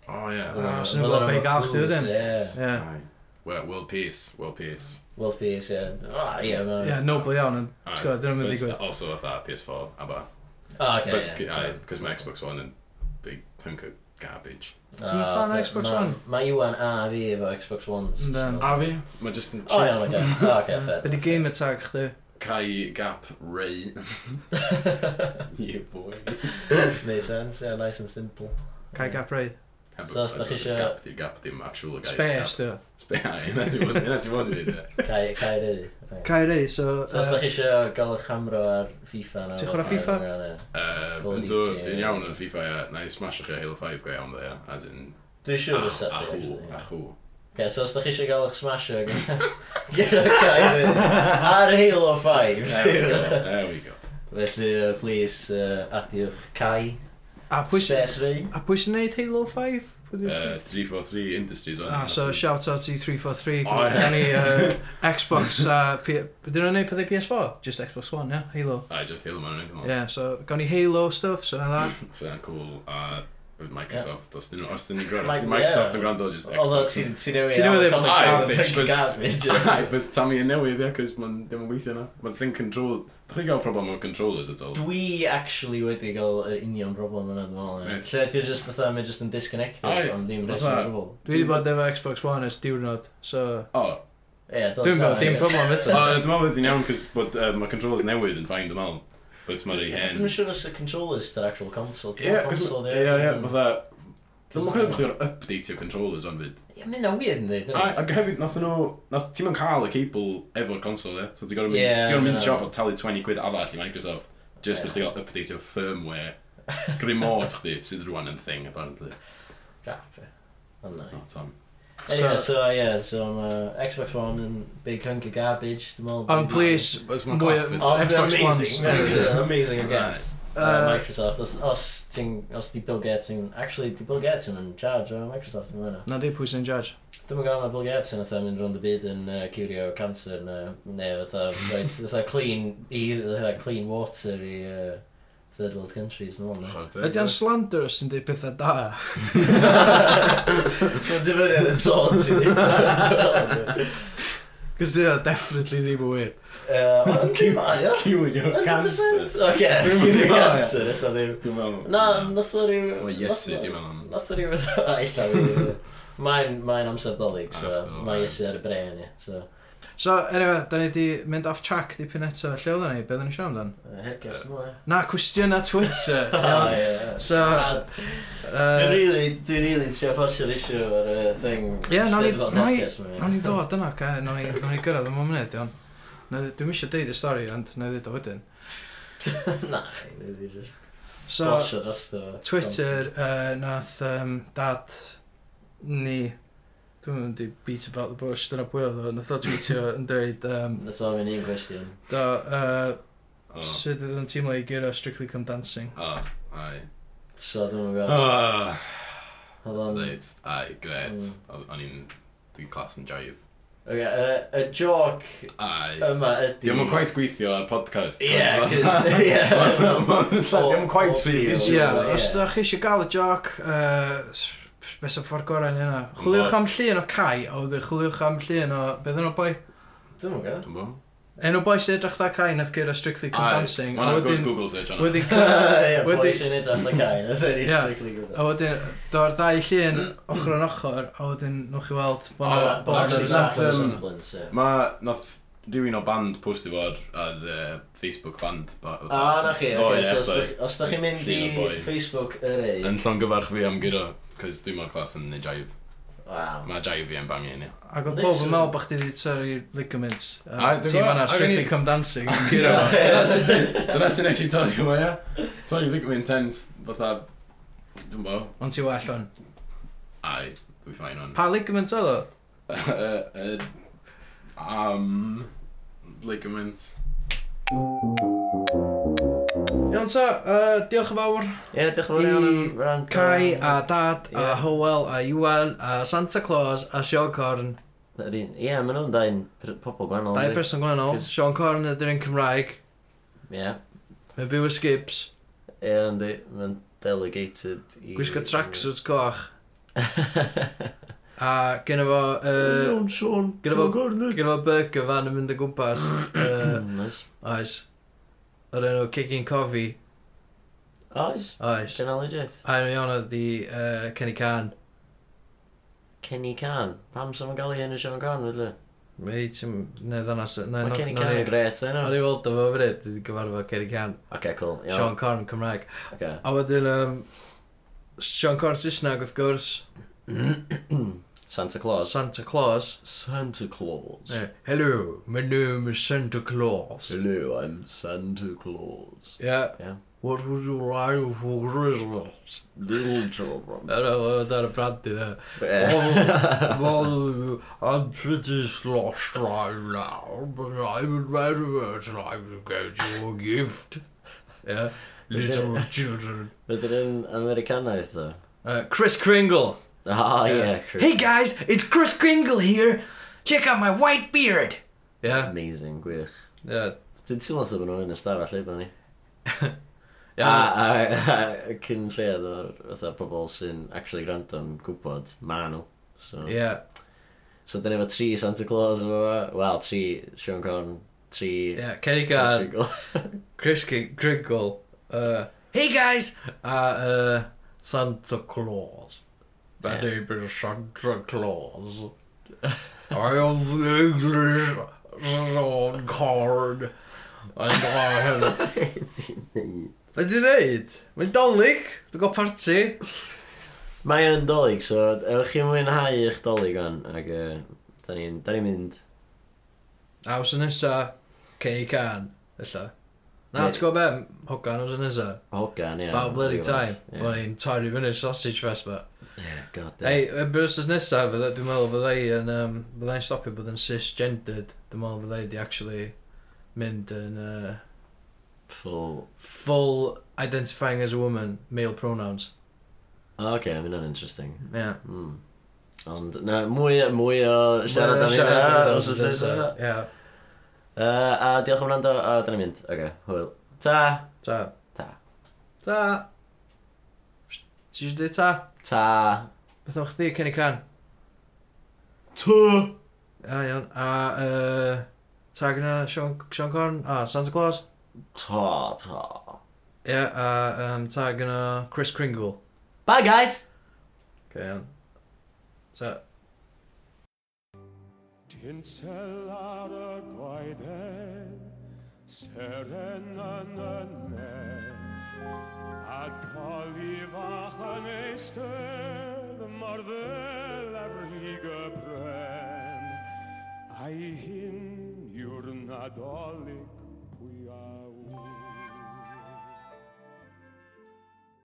[SPEAKER 9] oh yeah.
[SPEAKER 3] Ah,
[SPEAKER 2] Wel,
[SPEAKER 3] syniad
[SPEAKER 2] wel,
[SPEAKER 3] bod
[SPEAKER 2] wel,
[SPEAKER 3] big alch di wedyn.
[SPEAKER 2] Ie,
[SPEAKER 3] Ie.
[SPEAKER 9] Aye. Well, world peace, world peace.
[SPEAKER 2] World Peace, ie. O, ie, ma...
[SPEAKER 3] Ie, noble iawn. ond,
[SPEAKER 9] Aye.
[SPEAKER 3] Ti'n gwybod, dyn nhw'n mynd i
[SPEAKER 9] But
[SPEAKER 3] gwybod.
[SPEAKER 9] it's also fatha PS4, aber.
[SPEAKER 2] O,
[SPEAKER 9] Okay,
[SPEAKER 2] oce,
[SPEAKER 9] because
[SPEAKER 2] ie. so-
[SPEAKER 9] my Xbox One and big hunk of garbage.
[SPEAKER 3] Ti'n
[SPEAKER 2] O,
[SPEAKER 3] fan o
[SPEAKER 2] d-
[SPEAKER 3] Xbox
[SPEAKER 2] Ah, ma-
[SPEAKER 3] One?
[SPEAKER 2] Mae Iwan a fi efo Xbox Ones.
[SPEAKER 3] Yndan.
[SPEAKER 2] so-
[SPEAKER 9] fi? Mae just yn
[SPEAKER 2] O,
[SPEAKER 9] shit.
[SPEAKER 2] iawn, oce. O, oce, fair.
[SPEAKER 3] Ydy gamer tag chdi.
[SPEAKER 9] Kai Gap *laughs* Ray. yeah, boy.
[SPEAKER 2] *laughs* Made sense, ie, nice and simple.
[SPEAKER 3] Cai gap rei.
[SPEAKER 2] So os dach chi isio-
[SPEAKER 9] Gap di, gap dim actual guy.
[SPEAKER 3] Space, dy.
[SPEAKER 9] Space, aye, *laughs* na ti fod, na ti fod i e. ddweud.
[SPEAKER 2] Cai, cai rei.
[SPEAKER 3] Cai rei, so...
[SPEAKER 2] So os
[SPEAKER 3] yy,
[SPEAKER 2] da chi eisiau gael eich hamro ar FIFA na...
[SPEAKER 3] uh, Ti'n chwarae
[SPEAKER 2] whatever,
[SPEAKER 3] FIFA?
[SPEAKER 2] ie.
[SPEAKER 9] Yn dod, dwi'n iawn yn FIFA, ia. Na i smash chi Halo 5 go iawn, dda, ia. As in,
[SPEAKER 2] Dwi'n siŵr
[SPEAKER 9] ach,
[SPEAKER 2] os da
[SPEAKER 9] achw,
[SPEAKER 2] chi.
[SPEAKER 9] achw.
[SPEAKER 2] Ok, so os da chi eisiau gael eich smasho *laughs* gyda Cai fydd ar Halo 5.
[SPEAKER 9] There we go, there we go.
[SPEAKER 2] *laughs* Felly, uh, please, uh, adiwch Cai.
[SPEAKER 3] uh, A pwy sy-
[SPEAKER 2] Space fi.
[SPEAKER 3] a pwy sy'n neud Halo 5? Pwy 'di-
[SPEAKER 9] Uh, 343 Industries, o'n.
[SPEAKER 3] Ah, so shout out i 343
[SPEAKER 2] Oh,
[SPEAKER 9] O, ie.
[SPEAKER 3] Gan ni uh,
[SPEAKER 2] *laughs*
[SPEAKER 3] Xbox a P... Dyn nhw'n neud pethau PS4? Just Xbox One, ie? Halo
[SPEAKER 9] Aye, just Halo man, o'n
[SPEAKER 3] Ie,
[SPEAKER 9] i'n
[SPEAKER 3] yeah, so gawn ni Halo stuff, so na dda
[SPEAKER 9] Sy'n cool. A with Microsoft, os dyn nhw, os dyn nhw'n gwrando, os
[SPEAKER 2] Like,
[SPEAKER 9] dyn Microsoft
[SPEAKER 2] yeah.
[SPEAKER 9] yn gwrando, just
[SPEAKER 2] Although
[SPEAKER 9] Xbox. *laughs*
[SPEAKER 2] ti'n ti newid
[SPEAKER 3] Ti newydd
[SPEAKER 2] iawn,
[SPEAKER 3] iawn.
[SPEAKER 2] colour
[SPEAKER 9] Ah,
[SPEAKER 2] colour
[SPEAKER 9] bitch,
[SPEAKER 2] colour
[SPEAKER 9] but-
[SPEAKER 2] garbage. *laughs*
[SPEAKER 9] Ai, bys Tammy yn newydd, ie, cos ma'n ddim yn gweithio yna. Ma'n thing control... Dach chi'n cael problem o'r controllers at all?
[SPEAKER 2] Dwi actually wedi cael yr union broblem yna dwi'n meddwl. ie.
[SPEAKER 9] Mate.
[SPEAKER 2] Lle dwi'n just fatha, mae'n just yn disconnected,
[SPEAKER 9] Aye,
[SPEAKER 2] ond ddim
[SPEAKER 9] fatha-
[SPEAKER 2] rheswm o gwbl.
[SPEAKER 3] Dwi wedi bod efo Xbox One ers diwrnod, so...
[SPEAKER 9] O,
[SPEAKER 2] Ie, dylsa,
[SPEAKER 3] Dwi'n meddwl, dim
[SPEAKER 2] anyway.
[SPEAKER 3] problem
[SPEAKER 9] o,
[SPEAKER 3] eto.
[SPEAKER 9] dwi'n meddwl bod yn iawn, cos bod uh, mae controllers newydd yn ffain, dwi'n meddwl. But it's ma'n rei hen.
[SPEAKER 2] Dwi'n yn siŵr os y controllers dy'r actual console.
[SPEAKER 9] Ie,
[SPEAKER 2] Dyna'r
[SPEAKER 9] cos...
[SPEAKER 2] console,
[SPEAKER 9] Ie, ie, fatha... Dwi'n meddwl bod chi'n updateio controllers o'n fyd.
[SPEAKER 2] Ie, mynd na weird yn dweud.
[SPEAKER 9] A ac hefyd, nath nhw... Nath ti'n ma'n cael y cable efo'r console, ie? So ti'n gorau mynd...
[SPEAKER 2] Ie,
[SPEAKER 9] Ti'n gorau mynd
[SPEAKER 2] ie.
[SPEAKER 9] i siop o talu 20 quid arall i Microsoft. Just
[SPEAKER 2] Ie.
[SPEAKER 9] yeah. gael updateio
[SPEAKER 2] *laughs*
[SPEAKER 9] firmware. Remote chdi, sydd rwan yn thing, apparently.
[SPEAKER 2] Crap. ie. Ond na.
[SPEAKER 9] Not Tom. Oh,
[SPEAKER 2] Anyway, so ie, so mae Xbox One yn big hunk of garbage, dwi'n meddwl.
[SPEAKER 3] Ond please,
[SPEAKER 9] But it's
[SPEAKER 3] my class Mwy- bit.
[SPEAKER 2] Oh,
[SPEAKER 3] Xbox
[SPEAKER 2] amazing,
[SPEAKER 3] Ones.
[SPEAKER 2] yeah, Amazing again. Uh,
[SPEAKER 3] uh,
[SPEAKER 2] Microsoft, os, os, ti'n, os di Bill Gates yn... Actually, di Bill Gates yn yn charge o Microsoft yn fyna.
[SPEAKER 3] na di pwy sy'n judge.
[SPEAKER 2] Dwi'n gwybod mae Bill Gates yn fatha mynd rownd y byd yn uh, curio cancer neu, neu fatha, right, fatha clean, i, fatha clean water i uh, third world countries yn ymwneud.
[SPEAKER 3] Ydy o'n slander os sy'n dweud pethau da?
[SPEAKER 2] Mae'n dibynnu yn y tôn ti'n dweud.
[SPEAKER 3] Cos dwi o'n definitely ddim yn wir.
[SPEAKER 2] Ond dim aio.
[SPEAKER 9] Cywir
[SPEAKER 2] 100%? Oce,
[SPEAKER 9] Dwi'n
[SPEAKER 2] curio
[SPEAKER 9] meddwl, ie.
[SPEAKER 2] cancer, eitha ddim.
[SPEAKER 9] Dwi'n meddwl.
[SPEAKER 2] Na, nath o ryw...
[SPEAKER 9] Wel, Iesu, ti'n meddwl am.
[SPEAKER 2] Nath o ryw fatha, eitha *laughs* fi. Mae'n mae'n amser dolyg, so
[SPEAKER 9] After all,
[SPEAKER 2] mae
[SPEAKER 9] ie.
[SPEAKER 2] Iesu ar y bren, ie. So,
[SPEAKER 3] So, anyway, da ni di mynd off track di pyn eto. Lle oedden ni? Be oedden ni siarad amdan?
[SPEAKER 2] uh, hergest *laughs* mwy.
[SPEAKER 3] Na, cwestiynau Twitter.
[SPEAKER 2] Ah,
[SPEAKER 3] iawn.
[SPEAKER 2] ie, ie.
[SPEAKER 3] So,
[SPEAKER 2] A Dwi'n
[SPEAKER 3] uh,
[SPEAKER 2] really, dwi'n really trio fforsio'r issue ar y thing
[SPEAKER 3] Ie, nawn ni-
[SPEAKER 2] Steddfod
[SPEAKER 3] nawn ni-
[SPEAKER 2] Hergest 'ma, ie.
[SPEAKER 3] Nawn ni ddod yna, ca, nawn ni, nawn ni gyrraedd am o munud, iawn. Na, Dwi'm eisiau deud y stori, ond na i ddeud o wedyn.
[SPEAKER 2] *laughs* Na, dwi'n just
[SPEAKER 3] So,
[SPEAKER 2] blosio dros o
[SPEAKER 3] Twitter, uh, nath um, dad ni, dwi'n mynd i beat about the bush, dyna pwy oedd o, nath o tweetio yn dweud, um,
[SPEAKER 2] Nath o fi'n un cwestiwn
[SPEAKER 3] do, uh,
[SPEAKER 9] O,
[SPEAKER 3] sut oedd yn teimlo i gyro Strictly Come Dancing.
[SPEAKER 9] o, ai.
[SPEAKER 2] So dwi'n mynd gwybod
[SPEAKER 9] O,
[SPEAKER 2] Oedd o'n
[SPEAKER 9] Reit, ai, gret.
[SPEAKER 2] Mm.
[SPEAKER 9] O- O'n i'n... Dwi'n clas yn jive.
[SPEAKER 2] Ok, y- y joc
[SPEAKER 9] Ai.
[SPEAKER 2] yma ydi
[SPEAKER 9] Diolch yn quite gweithio ar podcast.
[SPEAKER 2] Ie, *laughs*
[SPEAKER 9] *laughs*
[SPEAKER 2] cos- ie.
[SPEAKER 9] Diolch yn quite tri
[SPEAKER 2] Audio.
[SPEAKER 3] Ie,
[SPEAKER 9] vision.
[SPEAKER 3] yeah,
[SPEAKER 2] Ie.
[SPEAKER 3] os da chi eisiau gael y joc, uh, beth sy'n ffordd gorau yn hynna. Chwiliwch am llun o Kai, a wedyn chwiliwch am llun o, beth yna boi?
[SPEAKER 10] Dwi'n mwyn
[SPEAKER 3] *laughs*
[SPEAKER 10] gael.
[SPEAKER 9] Dwi'n bo.
[SPEAKER 3] Enw boi sy'n edrych dda cae nath gyrra Strictly Come Dancing.
[SPEAKER 9] Mae'n
[SPEAKER 3] a
[SPEAKER 9] good
[SPEAKER 3] wedyn-
[SPEAKER 9] Google search yna.
[SPEAKER 3] Wedyn...
[SPEAKER 9] *laughs*
[SPEAKER 10] Ie, boi
[SPEAKER 3] Wedyn-
[SPEAKER 10] sy'n edrych y cain, oedd e'n
[SPEAKER 3] Ie. Oh,
[SPEAKER 10] strictly gwybod.
[SPEAKER 3] A wedyn, do'r ddau llun
[SPEAKER 9] Mm.
[SPEAKER 3] ochr yn ochr, a wedyn nhw'ch chi weld bod
[SPEAKER 9] O,
[SPEAKER 3] na
[SPEAKER 9] na,
[SPEAKER 3] bod
[SPEAKER 9] actually,
[SPEAKER 3] ar y
[SPEAKER 9] Oh, nath,
[SPEAKER 3] saff.
[SPEAKER 9] um, Mae, nath rhywun o band postio fod ar uh, Facebook band. ba-
[SPEAKER 10] O,
[SPEAKER 2] Ah,
[SPEAKER 10] na chi,
[SPEAKER 9] O,
[SPEAKER 10] okay,
[SPEAKER 9] ie,
[SPEAKER 10] Ah, so os
[SPEAKER 9] boi.
[SPEAKER 10] dach- os da chi'n mynd
[SPEAKER 9] Oh, Just llun o
[SPEAKER 10] i
[SPEAKER 9] boi.
[SPEAKER 10] Facebook yr ei...
[SPEAKER 9] Yn llongyfarch fi am gyda, cos dwi'n mor clas yn neud jive.
[SPEAKER 10] Waw.
[SPEAKER 9] Mae jive fi yn bangi ni.
[SPEAKER 3] Ac oedd pob yn meddwl bod chdi wedi tyrru ligaments.
[SPEAKER 9] A, dwi'n
[SPEAKER 3] Ti'n
[SPEAKER 9] gwbo,
[SPEAKER 3] fanna
[SPEAKER 9] ac
[SPEAKER 3] Strictly
[SPEAKER 9] o'n i-
[SPEAKER 3] Come Dancing.
[SPEAKER 9] Gyda fo.
[SPEAKER 10] *laughs*
[SPEAKER 9] *laughs* Dyna sy'n- Dyna sy'n eisiau torri yma, ia? Torri ddim yn intense, fatha... Dwi'n bo.
[SPEAKER 3] Ond ti well o'n.
[SPEAKER 9] Ai, dwi'n ffain *laughs* o'n.
[SPEAKER 3] Pa ligament oedd o?
[SPEAKER 9] Uh, uh, um, ligament.
[SPEAKER 3] Iawn ta, yy, diolch yn fawr.
[SPEAKER 2] Ie, diolch yn fawr iawn am
[SPEAKER 3] I
[SPEAKER 2] wrando.
[SPEAKER 3] Cai a Dad a
[SPEAKER 2] Ie.
[SPEAKER 3] Howell a Iwan a Santa Claus a Sean Corn.
[SPEAKER 2] Yr un- Ie, maen nhw'n dau'n pr- pobl gwannol.
[SPEAKER 3] Dau
[SPEAKER 2] yndi?
[SPEAKER 3] person gwahanol.
[SPEAKER 2] Cos-
[SPEAKER 3] Sean Corn ydy'r un Cymraeg.
[SPEAKER 2] Ie,
[SPEAKER 3] Mae'n byw y skips.
[SPEAKER 2] ie, yndi. Mae'n delegated i...
[SPEAKER 3] Gwisgo
[SPEAKER 2] *laughs*
[SPEAKER 3] tracksuit coch. A gyda fo... yy,
[SPEAKER 2] Iawn, Sean.
[SPEAKER 3] gyda fo- Gyda fo burger fan yn mynd o
[SPEAKER 2] *clears throat*
[SPEAKER 3] gwmpas. Yy,
[SPEAKER 2] Hmm, Nice.
[SPEAKER 3] Oes. Yr enw Kicking Coffee.
[SPEAKER 2] Oes.
[SPEAKER 3] Oes.
[SPEAKER 2] Dyna legit.
[SPEAKER 3] A enw iawn oedd i yy, Kenny Can.
[SPEAKER 2] Kenny Can. Pam sy'n gael ei enw Sean Can, fydde?
[SPEAKER 3] Mae hi ti'n... Neu ddanas...
[SPEAKER 2] Mae Kenny Can yn gret, enw.
[SPEAKER 3] O'n i weld o fo fyrdd, dwi'n gyfarfod Kenny Can.
[SPEAKER 2] Ok, cool. Iawn.
[SPEAKER 3] Sean Corn, Cymraeg.
[SPEAKER 2] Ok.
[SPEAKER 3] A wedyn, um, Sean Corn Saesneg wrth gwrs,
[SPEAKER 2] Santa Claus.
[SPEAKER 3] Santa Claus.
[SPEAKER 2] Santa Claus.
[SPEAKER 3] Uh, hello, my name is Santa Claus.
[SPEAKER 2] Hello, I'm Santa Claus.
[SPEAKER 3] Yeah.
[SPEAKER 2] Yeah.
[SPEAKER 3] What would you like for Christmas?
[SPEAKER 2] Little children.
[SPEAKER 3] I don't know, that a brandy there.
[SPEAKER 2] *laughs*
[SPEAKER 3] *laughs*
[SPEAKER 2] Yeah.
[SPEAKER 3] well, I'm pretty sloshed right now, but I would very much like to get you a gift. Yeah, little children.
[SPEAKER 2] Rydyn yn Americanaidd, ddo.
[SPEAKER 3] Uh, Chris Kringle.
[SPEAKER 2] Ah, yeah, Chris.
[SPEAKER 3] Hey guys, it's Chris Kringle here. Check out my white beard. Uh, Yeah,
[SPEAKER 2] Amazing, gwych.
[SPEAKER 3] yeah.
[SPEAKER 2] Dwi'n teimlo thym nhw yn y stafell efo ni. A,
[SPEAKER 3] yeah.
[SPEAKER 2] a, a, a cyn llead o'r fatha pobol sy'n actually grando'n gwybod ma nhw. So,
[SPEAKER 3] Yeah,
[SPEAKER 2] so dyn ni efo tri Santa Claus efo fo. Wel, tri Sean Corn, tri...
[SPEAKER 3] yeah. Kenny
[SPEAKER 2] Chris
[SPEAKER 3] Carr,
[SPEAKER 2] Kringle.
[SPEAKER 3] Chris Ki- Kringle. Uh, hey guys! A uh, Santa Claus. My
[SPEAKER 2] Yeah.
[SPEAKER 3] name is Santa Claus. *laughs* I am the English Sean Corn. And I *laughs* have... Mae di wneud? Mae'n dolyg. Dwi'n gael parti.
[SPEAKER 2] *laughs* Mae yn dolyg, so ewch chi'n mwynhau eich dolyg o'n, ac uh, da ni'n da ni mynd.
[SPEAKER 3] A os yn nesa, Kenny Can. Ella. Na,
[SPEAKER 2] Ie.
[SPEAKER 3] ti'n gwybod be? Hogan os yn nesa.
[SPEAKER 2] Hogan, ie.
[SPEAKER 3] About bloody time.
[SPEAKER 2] Ie,
[SPEAKER 3] O'n i'n torri fyny sausage fest, but...
[SPEAKER 2] Ie, god damn.
[SPEAKER 3] Ei, y byrsus nesaf, fydda- dwi'n meddwl fydda i yn, um, fydda i'n stopio bod yn cisgendered. Dwi'n meddwl fydda i di actually mynd yn uh,
[SPEAKER 2] Full.
[SPEAKER 3] full identifying as a woman, male pronouns.
[SPEAKER 2] O, Oce, mae hynna'n interesting.
[SPEAKER 3] Yeah.
[SPEAKER 2] Mm. Ond, na, mwy, mwy o siarad am
[SPEAKER 3] Siarad
[SPEAKER 2] hynna.
[SPEAKER 3] am
[SPEAKER 2] os oes
[SPEAKER 3] nesaf.
[SPEAKER 2] nesa.
[SPEAKER 3] Yeah.
[SPEAKER 2] Yy, A diolch am wrando, a da ni'n mynd. Oce, hwyl. Ta.
[SPEAKER 3] Ta.
[SPEAKER 2] Ta.
[SPEAKER 3] Ta. Ti eisiau dweud ta?
[SPEAKER 2] Ta.
[SPEAKER 3] Beth o'ch chdi, Kenny Can?
[SPEAKER 2] Ta.
[SPEAKER 3] A iawn. A uh, ta gyda Sean, Sean Corn? A Santa Claus?
[SPEAKER 2] Ta, ta.
[SPEAKER 3] Ie, yeah, a um, ta gyda Chris Kringle.
[SPEAKER 2] Bye, guys!
[SPEAKER 3] Okay, iawn. Ta.
[SPEAKER 1] Tinselare goiden, serenanene, at kalivachen eisted, mardel avrige bren, ai hin jurnadolik pujau.